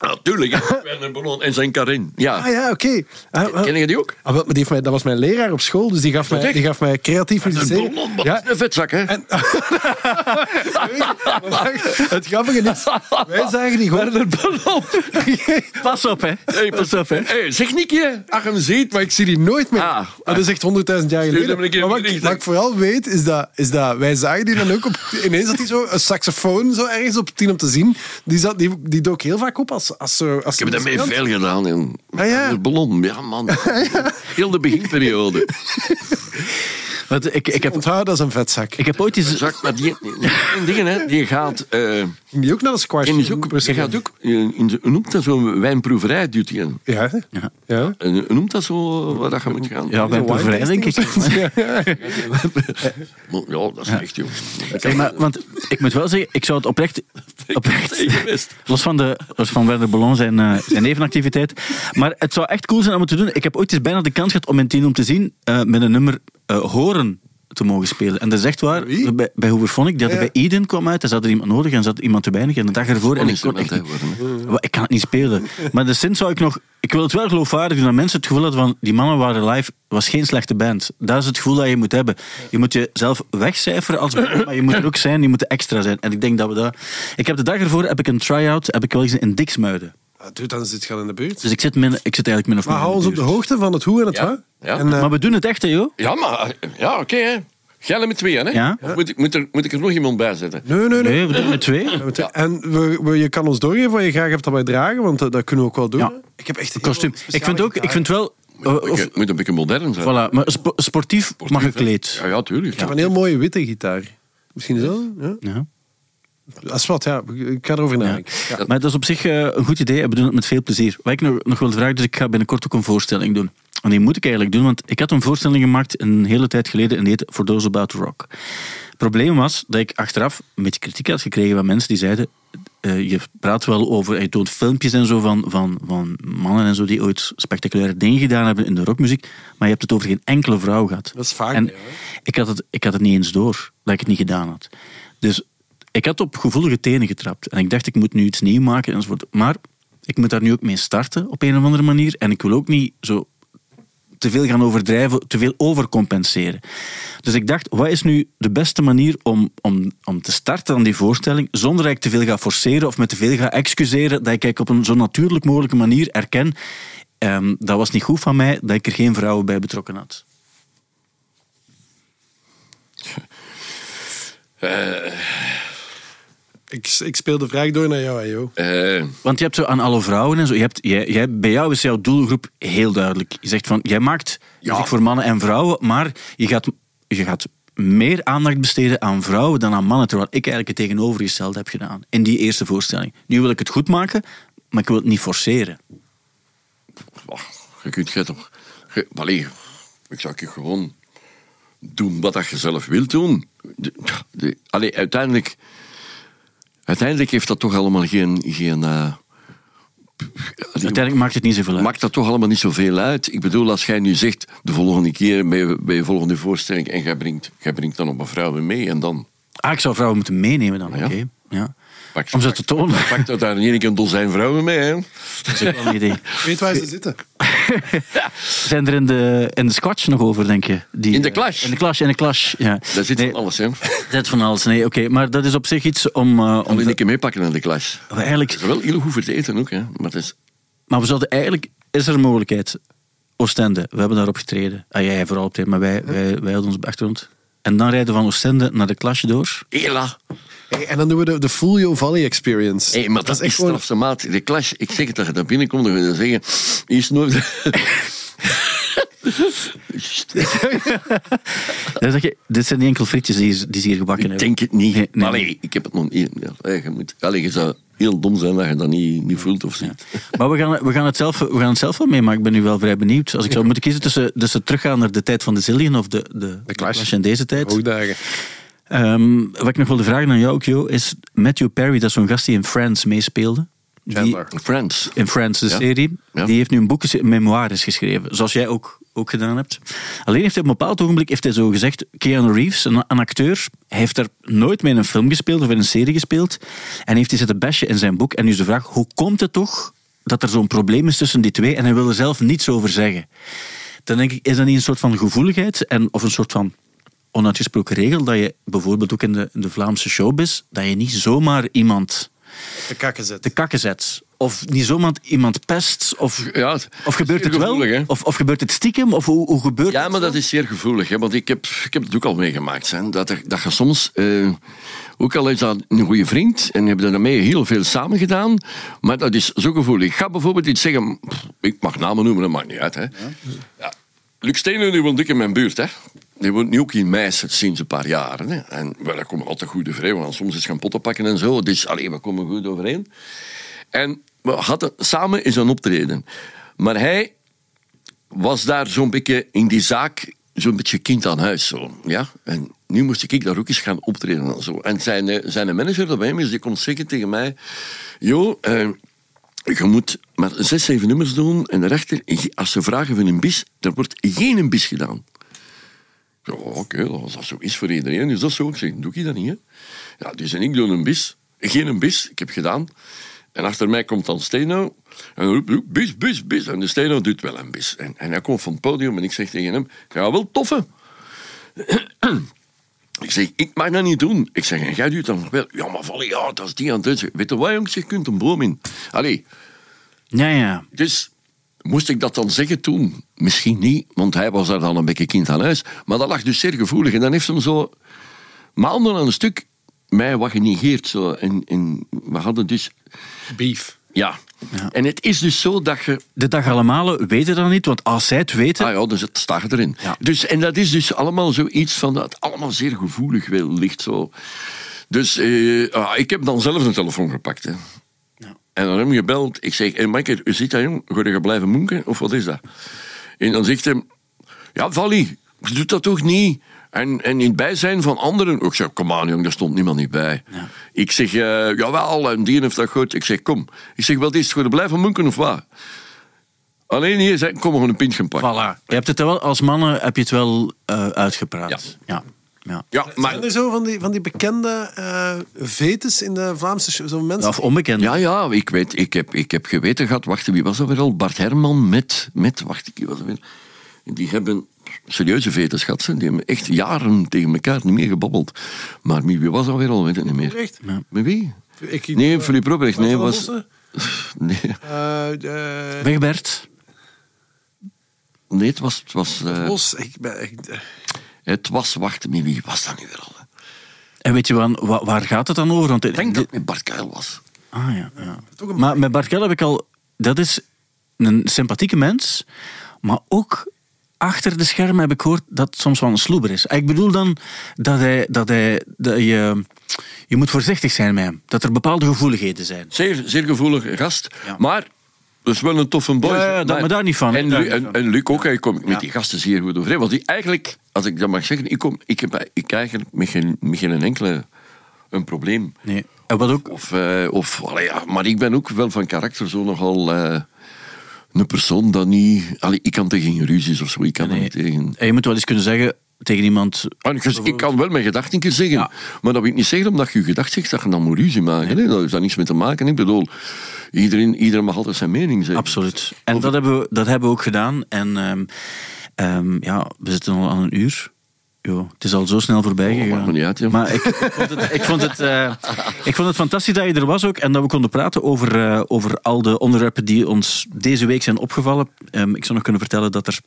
Speaker 3: Natuurlijk, Ah,
Speaker 4: [LAUGHS]
Speaker 3: hè. Werner Ballon en zijn Karin. Ja.
Speaker 4: Ah ja, oké. Ah, ah.
Speaker 3: Ken je die ook?
Speaker 4: Ah, wel, maar die heeft mij, dat was mijn leraar op school, dus die gaf, mij,
Speaker 3: echt?
Speaker 4: die gaf mij creatief
Speaker 3: Een
Speaker 4: musiceren.
Speaker 3: Ballon, wat [LAUGHS]
Speaker 4: Ja,
Speaker 3: een vetzak, hè?
Speaker 4: en, Maar wacht, het grappige is, wij zagen die gewoon...
Speaker 3: Ballon.
Speaker 4: [LAUGHS]
Speaker 5: Pas op, hè.
Speaker 3: Hey,
Speaker 5: Pas op, hè.
Speaker 3: Hey, zeg Niekje.
Speaker 4: Ach, hem ziet, maar ik zie die nooit meer.
Speaker 3: Ah,
Speaker 4: dat is echt 100.000 jaar
Speaker 3: hem
Speaker 4: geleden.
Speaker 3: een keer
Speaker 4: Maar wat,
Speaker 3: bericht,
Speaker 4: ik, wat ik vooral weet, is dat, is dat wij zagen die dan ook op... Ineens had hij zo een saxofoon zo ergens op tien om te zien. Die, zat, die, die dook heel vaak op als... als, zo- als
Speaker 3: Ik heb daarmee veel gedaan. En
Speaker 4: Ah, ja.
Speaker 3: Werner Ballon, ja
Speaker 5: [LAUGHS]
Speaker 3: man. Heel de beginperiode.
Speaker 5: Want ik, ik, heb,
Speaker 4: Onthoud, dat is een vetzak.
Speaker 5: ik heb ooit eens...
Speaker 3: Zak, maar die, die, die dingen, hè, die gaat... eh,
Speaker 4: Ging die ook naar de squash?
Speaker 3: En is ook, je gaat ook, eh, in in de, hoe noemt dat zo'n wijnproeverij, duwt hij in.
Speaker 4: Ja.
Speaker 5: Ja.
Speaker 4: Ja.
Speaker 3: En hoe noemt dat zo, waar dat je moet gaan?
Speaker 5: Ja, bij
Speaker 4: Wine
Speaker 5: proeverij, denk ik.
Speaker 4: Ja, ja.
Speaker 3: Maar ja dat is echt, joh.
Speaker 5: Zeg maar, want ik moet wel zeggen, ik zou het
Speaker 4: [LAUGHS]
Speaker 5: oprecht... oprecht
Speaker 3: tegen best.
Speaker 5: los, van de, los van Werner Ballon zijn, eh, zijn nevenactiviteit. Maar het zou echt cool zijn om het te doen. Ik heb ooit eens bijna de kans gehad om mijn tien om te zien eh, met een nummer eh, horen te mogen spelen. En dat is echt waar,
Speaker 4: Wie?
Speaker 5: bij, bij Hooverphonic, die hadden
Speaker 4: Ja.
Speaker 5: bij Eden kwam uit, daar zat er iemand nodig en zat iemand te weinig. En de dag ervoor... En ik, kon
Speaker 3: Spannend,
Speaker 5: echt,
Speaker 3: hè,
Speaker 5: niet-
Speaker 3: worden,
Speaker 5: Wel, ik kan het niet spelen. Maar de zin zou ik nog... Ik wil het wel geloofwaardig doen dat mensen het gevoel hadden van... Die mannen waren live, was geen slechte band. Dat is het gevoel dat je moet hebben. Je moet jezelf wegcijferen als band, maar je moet er ook zijn. Je moet er extra zijn. En ik denk dat we dat... Ik heb de dag ervoor heb ik een try-out heb ik wel eens in Diksmuiden.
Speaker 4: Doe Ah, dan zit je in de buurt.
Speaker 5: Dus ik zit, min, ik zit eigenlijk min of
Speaker 4: Maar
Speaker 5: meer
Speaker 4: hou
Speaker 5: in
Speaker 4: ons
Speaker 5: de
Speaker 4: op de
Speaker 5: buurt.
Speaker 4: hoogte van het hoe en het
Speaker 3: Ja.
Speaker 4: waar.
Speaker 3: Ja.
Speaker 4: En, eh,
Speaker 5: Maar we doen het echt, hè, joh.
Speaker 3: Ja, maar... eh, Ja, oké, hè. Jij met tweeën, hè?
Speaker 5: Ja.
Speaker 3: Of moet, ik- moet, er, moet ik er nog iemand bij zetten?
Speaker 4: nee, nee, nee.
Speaker 5: Nee, we doen het met twee.
Speaker 4: En we, we- je kan ons doorgeven wat je graag hebt dat wij dragen, want eh, dat kunnen we ook wel doen.
Speaker 5: Ja.
Speaker 4: Ik heb echt een
Speaker 5: Kostuum.
Speaker 4: heel
Speaker 5: Ik vind ook... Ik vind wel... eh,
Speaker 3: Moet
Speaker 5: of,
Speaker 3: ik- moet een beetje modern zijn.
Speaker 5: voilà, maar spo- sportief mag gekleed.
Speaker 3: Ja, ja, tuurlijk.
Speaker 4: speciale gitaar. Ik heb een heel mooie witte gitaar. Misschien zo? Ja.
Speaker 5: Ja.
Speaker 4: Dat is wat, ja. Ik ga erover nadenken. Ja.
Speaker 5: Maar dat is op zich eh, een goed idee en we doen het met veel plezier. Wat ik nog, nog wil vragen, dus ik ga binnenkort ook een voorstelling doen. En die moet ik eigenlijk doen, want ik had een voorstelling gemaakt een hele tijd geleden en die heette For Those About to Rock. Het probleem was dat ik achteraf een beetje kritiek had gekregen van mensen die zeiden... eh, je praat wel over, en je toont filmpjes en zo van, van, van mannen en zo die ooit spectaculaire dingen gedaan hebben in de rockmuziek, maar je hebt het over geen enkele vrouw gehad.
Speaker 4: Dat is vaak
Speaker 5: En
Speaker 4: niet, hoor.
Speaker 5: ik had, het, ik had het niet eens door dat ik het niet gedaan had. Dus ik had op gevoelige tenen getrapt. En ik dacht, ik moet nu iets nieuw maken enzovoort. Maar ik moet daar nu ook mee starten op een of andere manier. En ik wil ook niet zo te veel gaan overdrijven, te veel overcompenseren. Dus ik dacht, wat is nu de beste manier om, om, om te starten aan die voorstelling, zonder dat ik te veel ga forceren of me te veel ga excuseren, dat ik eigenlijk op een zo natuurlijk mogelijke manier erken, ehm, dat was niet goed van mij, dat ik er geen vrouwen bij betrokken had.
Speaker 4: Ik, ik speel de vraag door naar jou, hè, Jo.
Speaker 3: Eh,
Speaker 5: Want je hebt zo aan alle vrouwen en zo. Je hebt, jij, jij, bij jou is jouw doelgroep heel duidelijk. Je zegt van, jij maakt
Speaker 3: Ja.
Speaker 5: muziek voor mannen en vrouwen, maar je gaat, je gaat meer aandacht besteden aan vrouwen dan aan mannen, terwijl ik eigenlijk het tegenovergestelde heb gedaan in die eerste voorstelling. Nu wil ik het goed maken, maar ik wil het niet forceren.
Speaker 3: wacht, je kunt jij toch... Je, allee, ik zou je gewoon doen wat dat je zelf wilt doen. De, de- allee, uiteindelijk... Uiteindelijk heeft dat toch allemaal geen... geen eh,
Speaker 5: Uiteindelijk maakt het niet zoveel uit.
Speaker 3: maakt dat toch allemaal niet zoveel uit. Ik bedoel, als jij nu zegt, de volgende keer bij je, bij je volgende voorstelling, en jij brengt, jij brengt dan op een vrouw mee, en dan
Speaker 5: Ah, ik zou vrouwen moeten meenemen dan, oké.
Speaker 3: Ja.
Speaker 5: Ja.
Speaker 3: pak
Speaker 5: Om ze te tonen.
Speaker 3: pakt dat daar in één keer een dozijn vrouwen mee. Hè?
Speaker 5: [LAUGHS] Dat is ook wel een idee.
Speaker 4: Weet waar ze zitten.
Speaker 5: Zijn er in de, in de squatch nog over, denk je? Die,
Speaker 3: In de
Speaker 5: eh,
Speaker 3: clash?
Speaker 5: In de clash, in de clash, ja.
Speaker 3: Daar zit
Speaker 5: Nee,
Speaker 3: van alles. Hè?
Speaker 5: Dat van alles, nee, oké. Maar dat is op zich iets om... eh, om
Speaker 3: Om
Speaker 5: te-
Speaker 3: een keer meepakken aan de klas.
Speaker 5: Maar eigenlijk,
Speaker 3: Het is wel heel goed voor het eten ook, hè? maar het is
Speaker 5: maar we zouden eigenlijk... Is er een mogelijkheid? Oostende, we hebben daarop getreden. Ah, jij vooral optreden, maar wij, wij, wij hadden ons op de achtergrond. En dan rijden we van Oostende naar de klasje door.
Speaker 3: Ela.
Speaker 4: Hey, en dan doen we de, de Full Yo Valley Experience.
Speaker 3: Hey, maar dat, is
Speaker 4: gewoon-
Speaker 3: strafse maat. De klas, ik zeg het dat je daar binnenkomt en dan zeggen: is nooit.
Speaker 5: Dan zeg je, dit zijn niet enkel frietjes die, ze- die ze hier
Speaker 3: [LAUGHS]
Speaker 5: gebakken
Speaker 3: Ik
Speaker 5: hebben.
Speaker 3: denk het niet.
Speaker 5: Nee, nee.
Speaker 3: Allee, ik heb het nog niet. Ja, allee, je, moet, allee, je zou heel dom zijn dat je dat niet, niet voelt of ziet.
Speaker 5: Maar we gaan, we, gaan het zelf, we gaan het zelf wel meemaken. Ik ben nu wel vrij benieuwd. Als ik zou moeten kiezen tussen, tussen teruggaan naar de tijd van de Zillion of de, de, de
Speaker 4: Clash.
Speaker 5: in deze tijd.
Speaker 3: Oh,
Speaker 4: Hoogdagen.
Speaker 5: Ehm, wat ik nog wilde vragen aan jou, ook, Jo, is Matthew Perry, dat is zo'n gast die in Friends meespeelde. Die,
Speaker 4: Chandler.
Speaker 3: Friends.
Speaker 5: in Friends, de
Speaker 3: Ja.
Speaker 5: serie.
Speaker 3: Ja.
Speaker 5: Die heeft nu een boek, gese- memoires geschreven, zoals jij ook, ook gedaan hebt. Alleen heeft hij op een bepaald ogenblik, heeft hij zo gezegd, Keanu Reeves, een, een acteur, hij heeft er nooit mee in een film gespeeld of in een serie gespeeld. En heeft hij zitten bashen in zijn boek. En nu is de vraag, hoe komt het toch dat er zo'n probleem is tussen die twee en hij wil er zelf niets over zeggen. Dan denk ik, is dat niet een soort van gevoeligheid en, of een soort van onuitgesproken regel dat je bijvoorbeeld ook in de, in de Vlaamse showbiz, dat je niet zomaar iemand
Speaker 4: De kakken zet.
Speaker 5: de kakken zet. Of niet zomaar iemand pest. Of,
Speaker 3: Ja, het-
Speaker 5: of gebeurt
Speaker 3: zeer
Speaker 5: het wel?
Speaker 3: gevoelig, hè?
Speaker 5: Of, of gebeurt het stiekem? Of hoe, hoe gebeurt
Speaker 3: Ja,
Speaker 5: het
Speaker 3: maar
Speaker 5: zo?
Speaker 3: dat is zeer gevoelig. Hè? Want ik heb, ik heb het ook al meegemaakt. Hè? Dat, er, dat je soms, eh, ook al is dat een goede vriend, en hebben daarmee heel veel samen gedaan, maar dat is zo gevoelig. Ik ga bijvoorbeeld iets zeggen, pff, ik mag namen noemen, dat maakt niet uit. Hè? Ja. Luc Steenhuis, die woont ook in mijn buurt. Hè? Die woont nu ook in Meissen sinds een paar jaren. Hè? En wel, daar komen we altijd goed overeen, want soms is gaan potten pakken en zo. Dus alleen, we komen goed overeen. En we hadden samen is een optreden. Maar hij was daar zo'n beetje in die zaak zo'n beetje kind aan huis. Zo, ja? En nu moest ik daar ook eens gaan optreden. En, zo. en zijn, eh, zijn manager, dat bij hem is, die komt zeggen tegen mij... Jo, eh, je moet maar zes, zeven nummers doen. En de rechter, als ze vragen van een bis, er wordt geen een bis gedaan. Ja, oké, dat- als dat zo is voor iedereen, is dat zo. Ik zeg, doe ik dat niet, hè? Ja, dus en ik doe een bis. Geen een bis, ik heb gedaan. En achter mij komt dan Steno. En roept, roept, bis, bis, bis. En de Steno doet wel een bis. En, en hij komt van het podium en ik zeg tegen hem, ga wel toffen. [CLEARS THROAT] Ik zeg, ik mag dat niet doen. Ik zeg, en jij doet dat nog wel. Ja, maar vallen, ja, dat is die aan het doen. Ik zeg, Weet je wat, jongens, je kunt een boom in. Allee,
Speaker 5: Ja, ja.
Speaker 3: dus moest ik dat dan zeggen toen? Misschien niet, want hij was daar dan een beetje kind aan huis. Maar dat lag dus zeer gevoelig. En dan heeft hem zo maanden aan een stuk mij wat genegeerd. Zo. En, en we hadden dus...
Speaker 4: Beef.
Speaker 3: Ja. En het is dus zo dat je...
Speaker 5: De dag allemaal weten dat niet, want als zij het weten...
Speaker 3: Ah ja, dus het staat erin.
Speaker 5: Ja.
Speaker 3: Dus, en dat is dus allemaal zoiets van dat het allemaal zeer gevoelig wel ligt. Zo. Dus eh, ah, ik heb dan zelf een telefoon gepakt. Hè. En dan heb ik hem gebeld. Ik zeg, hey, Michael, hoe zit dat jong? Ga je blijven moenken? Of wat is dat? En dan zegt hij, ja, Vali, je doet dat toch niet? En, en in het bijzijn van anderen. Ik zeg, kom aan jong, daar stond niemand niet bij. Ik zeg, eh, jawel, en die heeft dat goed. Ik zeg, kom. Ik zeg, wat is het? Ga je blijven moenken of wat? Alleen hier zijn, kom gewoon een pint gaan pakken.
Speaker 5: Voilà. Je hebt het wel, als mannen heb je het wel eh, uitgepraat. Ja. Ja.
Speaker 3: Ja, maar...
Speaker 4: Zijn er zo van die, van die bekende eh vetes in de Vlaamse show? Zo mensen
Speaker 5: Of onbekend.
Speaker 3: Ja, ja, ik, weet, ik, heb, ik heb geweten gehad. Wacht, wie was dat weer al? Bart Herman met. met wacht, wie was dat weer? Die hebben serieuze veters gehad. ze. Die hebben echt jaren tegen elkaar niet meer gebabbeld. Maar wie wie was dat weer al? Weet ik niet meer.
Speaker 4: Echt?
Speaker 3: Met wie?
Speaker 4: Ik-
Speaker 3: Nee,
Speaker 4: eh,
Speaker 3: Philippe Robrecht. Nee,
Speaker 4: Marcel
Speaker 3: was.
Speaker 4: Bossen?
Speaker 3: [LAUGHS] Nee,
Speaker 4: Eh, eh,
Speaker 5: Weg Bert.
Speaker 3: nee, het was. Het was, eh,
Speaker 4: Bos, ik ben echt... eh,
Speaker 3: het was wacht, met wie was dat nu weer al?
Speaker 5: En weet je waar, waar, waar gaat het dan over? Want
Speaker 3: Ik denk dat het met Bart Kuil was.
Speaker 5: Ah ja. ja. Maar met Bart Kel heb ik al. Dat is een sympathieke mens, maar ook achter de schermen heb ik gehoord dat het soms wel een sloeber is. Ik bedoel dan dat hij. Dat hij dat je, je moet voorzichtig zijn met hem. Dat er bepaalde gevoeligheden zijn.
Speaker 3: Zeer, zeer gevoelige gast.
Speaker 5: Ja.
Speaker 3: Maar dat is wel een toffe boy.
Speaker 5: Ja, ja, dat- maar daar niet van,
Speaker 3: En,
Speaker 5: daar
Speaker 3: Lu-
Speaker 5: niet
Speaker 3: en,
Speaker 5: van.
Speaker 3: en Luc ook, hij komt met die gasten zeer goed overeen. Want die eigenlijk, als ik dat mag zeggen, ik, kom, ik heb ik eigenlijk met geen, met geen enkele een probleem.
Speaker 5: Nee. En wat ook.
Speaker 3: Of, eh, of, allee, ja, maar ik ben ook wel van karakter zo nogal eh, een persoon dat niet... Allee, ik kan tegen geen ruzies of zo, ik kan er
Speaker 5: Nee.
Speaker 3: niet tegen...
Speaker 5: En je moet wel eens kunnen zeggen tegen iemand.
Speaker 3: En ik- ik kan wel mijn gedachten een keer zeggen. Maar dat wil ik niet zeggen omdat je je gedacht zegt dat je dan moet ruzie maken. hè. Daar heeft dat niks mee te maken. Ik bedoel, iedereen, iedereen mag altijd zijn mening zeggen.
Speaker 5: Absoluut. En dat hebben, we, dat hebben we ook gedaan. En ehm, ehm, ja, we zitten al aan een uur. Jo, het is al zo snel voorbij
Speaker 3: Oh, maakt
Speaker 5: gegaan.
Speaker 3: me niet uit, joh.
Speaker 5: maar ik, ik vond het, ik, vond het, eh, ik vond het fantastisch dat je er was ook. En dat we konden praten over, eh, over al de onderwerpen die ons deze week zijn opgevallen. Ehm, ik zou nog kunnen vertellen dat er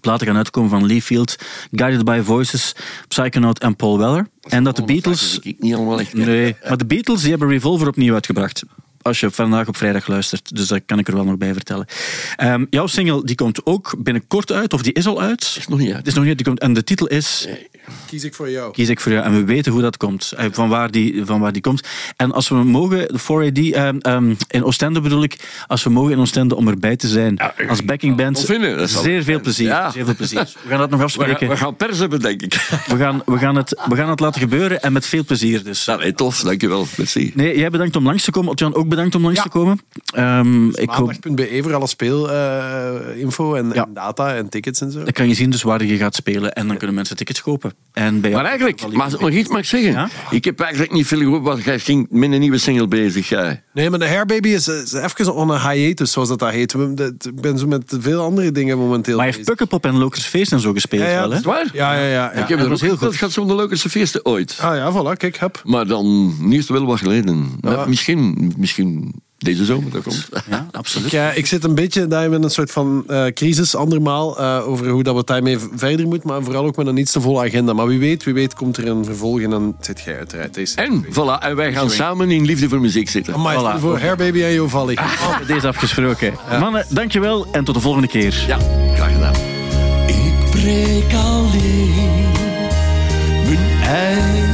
Speaker 5: platen gaan uitkomen van Lee Field, Guided by Voices, Psychonaut en Paul Weller. En dat de Beatles...
Speaker 3: Dat ik niet allemaal echt.
Speaker 5: Nee, maar de Beatles die hebben Revolver opnieuw uitgebracht. Als je vandaag op vrijdag luistert. Dus dat kan ik er wel nog bij vertellen. Ehm, jouw single die komt ook binnenkort uit, of die is al uit.
Speaker 3: Is nog niet uit.
Speaker 5: Het is nog niet uit, die komt, en de titel is
Speaker 4: kies ik voor jou.
Speaker 5: Kies ik voor jou. En we weten hoe dat komt. eh, Van waar die, van waar die komt. En als we mogen, de 4AD, ehm, ehm, in Oostende bedoel ik. Als we mogen in Oostende om erbij te zijn. als backing band.
Speaker 3: wel vinden, dat zal-
Speaker 5: Zeer veel plezier.
Speaker 3: Ja.
Speaker 5: Zeer veel plezier. We gaan dat nog
Speaker 3: [LAUGHS] We, gaan-
Speaker 5: afspreken.
Speaker 3: we gaan pers hebben, denk
Speaker 5: [LAUGHS]
Speaker 3: ik.
Speaker 5: We gaan, we, gaan het, we gaan het laten gebeuren en met veel plezier dus.
Speaker 3: Nou, nee, tof, dankjewel. Merci.
Speaker 5: Nee, jij bedankt om langs te komen. Otjan, ook bedankt om langs
Speaker 4: Ja.
Speaker 5: te komen. Ehm, ik hoop,
Speaker 4: Maandag.be E voor alle speelinfo en, en
Speaker 5: Ja.
Speaker 4: data en tickets en zo.
Speaker 5: dan kan je zien dus waar je gaat spelen en dan kunnen mensen tickets kopen. En bij jou-
Speaker 3: Maar eigenlijk, maar nog iets mag ik zeggen.
Speaker 5: Ja?
Speaker 3: Ik heb eigenlijk niet veel gehoord, want jij ging met een nieuwe single bezig. Jij.
Speaker 4: Nee, maar de Hairbaby is, is even on een hiatus, zoals dat, dat heet. We- dat- Ik ben zo met veel andere dingen momenteel
Speaker 5: Maar hij heeft
Speaker 4: bezig.
Speaker 5: Pukkelpop en Lokers Feest en zo gespeeld
Speaker 4: Ja, ja,
Speaker 5: wel, hè?
Speaker 4: dat
Speaker 3: Is het waar?
Speaker 4: Ja, ja, ja. ja.
Speaker 3: Ik heb
Speaker 5: dat
Speaker 3: er
Speaker 5: was
Speaker 3: ook
Speaker 5: heel
Speaker 3: heel
Speaker 5: goed.
Speaker 3: goed. gaat van de leukste feesten ooit.
Speaker 4: Ah ja, voilà, kijk, heb.
Speaker 3: Maar dan, nu is het wel wat geleden. Maar Misschien, misschien deze zomer, dat
Speaker 5: [LAUGHS]
Speaker 3: komt.
Speaker 5: Ja, absoluut.
Speaker 4: Ik, eh, ik zit een beetje daar met een soort van eh, crisis, andermaal, eh, over hoe dat we daarmee v- verder moeten, maar vooral ook met een iets te volle agenda. Maar wie weet, wie weet komt er een vervolg en dan zit jij uiteraard deze.
Speaker 3: En, voilà, en wij gaan samen in liefde voor muziek zitten.
Speaker 4: Amai,
Speaker 5: Voilà.
Speaker 4: voor Hairbaby en Jovali.
Speaker 5: [LAUGHS] Deze afgesproken. Mannen, dankjewel en tot de volgende keer.
Speaker 3: Ja, graag gedaan.
Speaker 1: Ik breek alleen mijn eigen.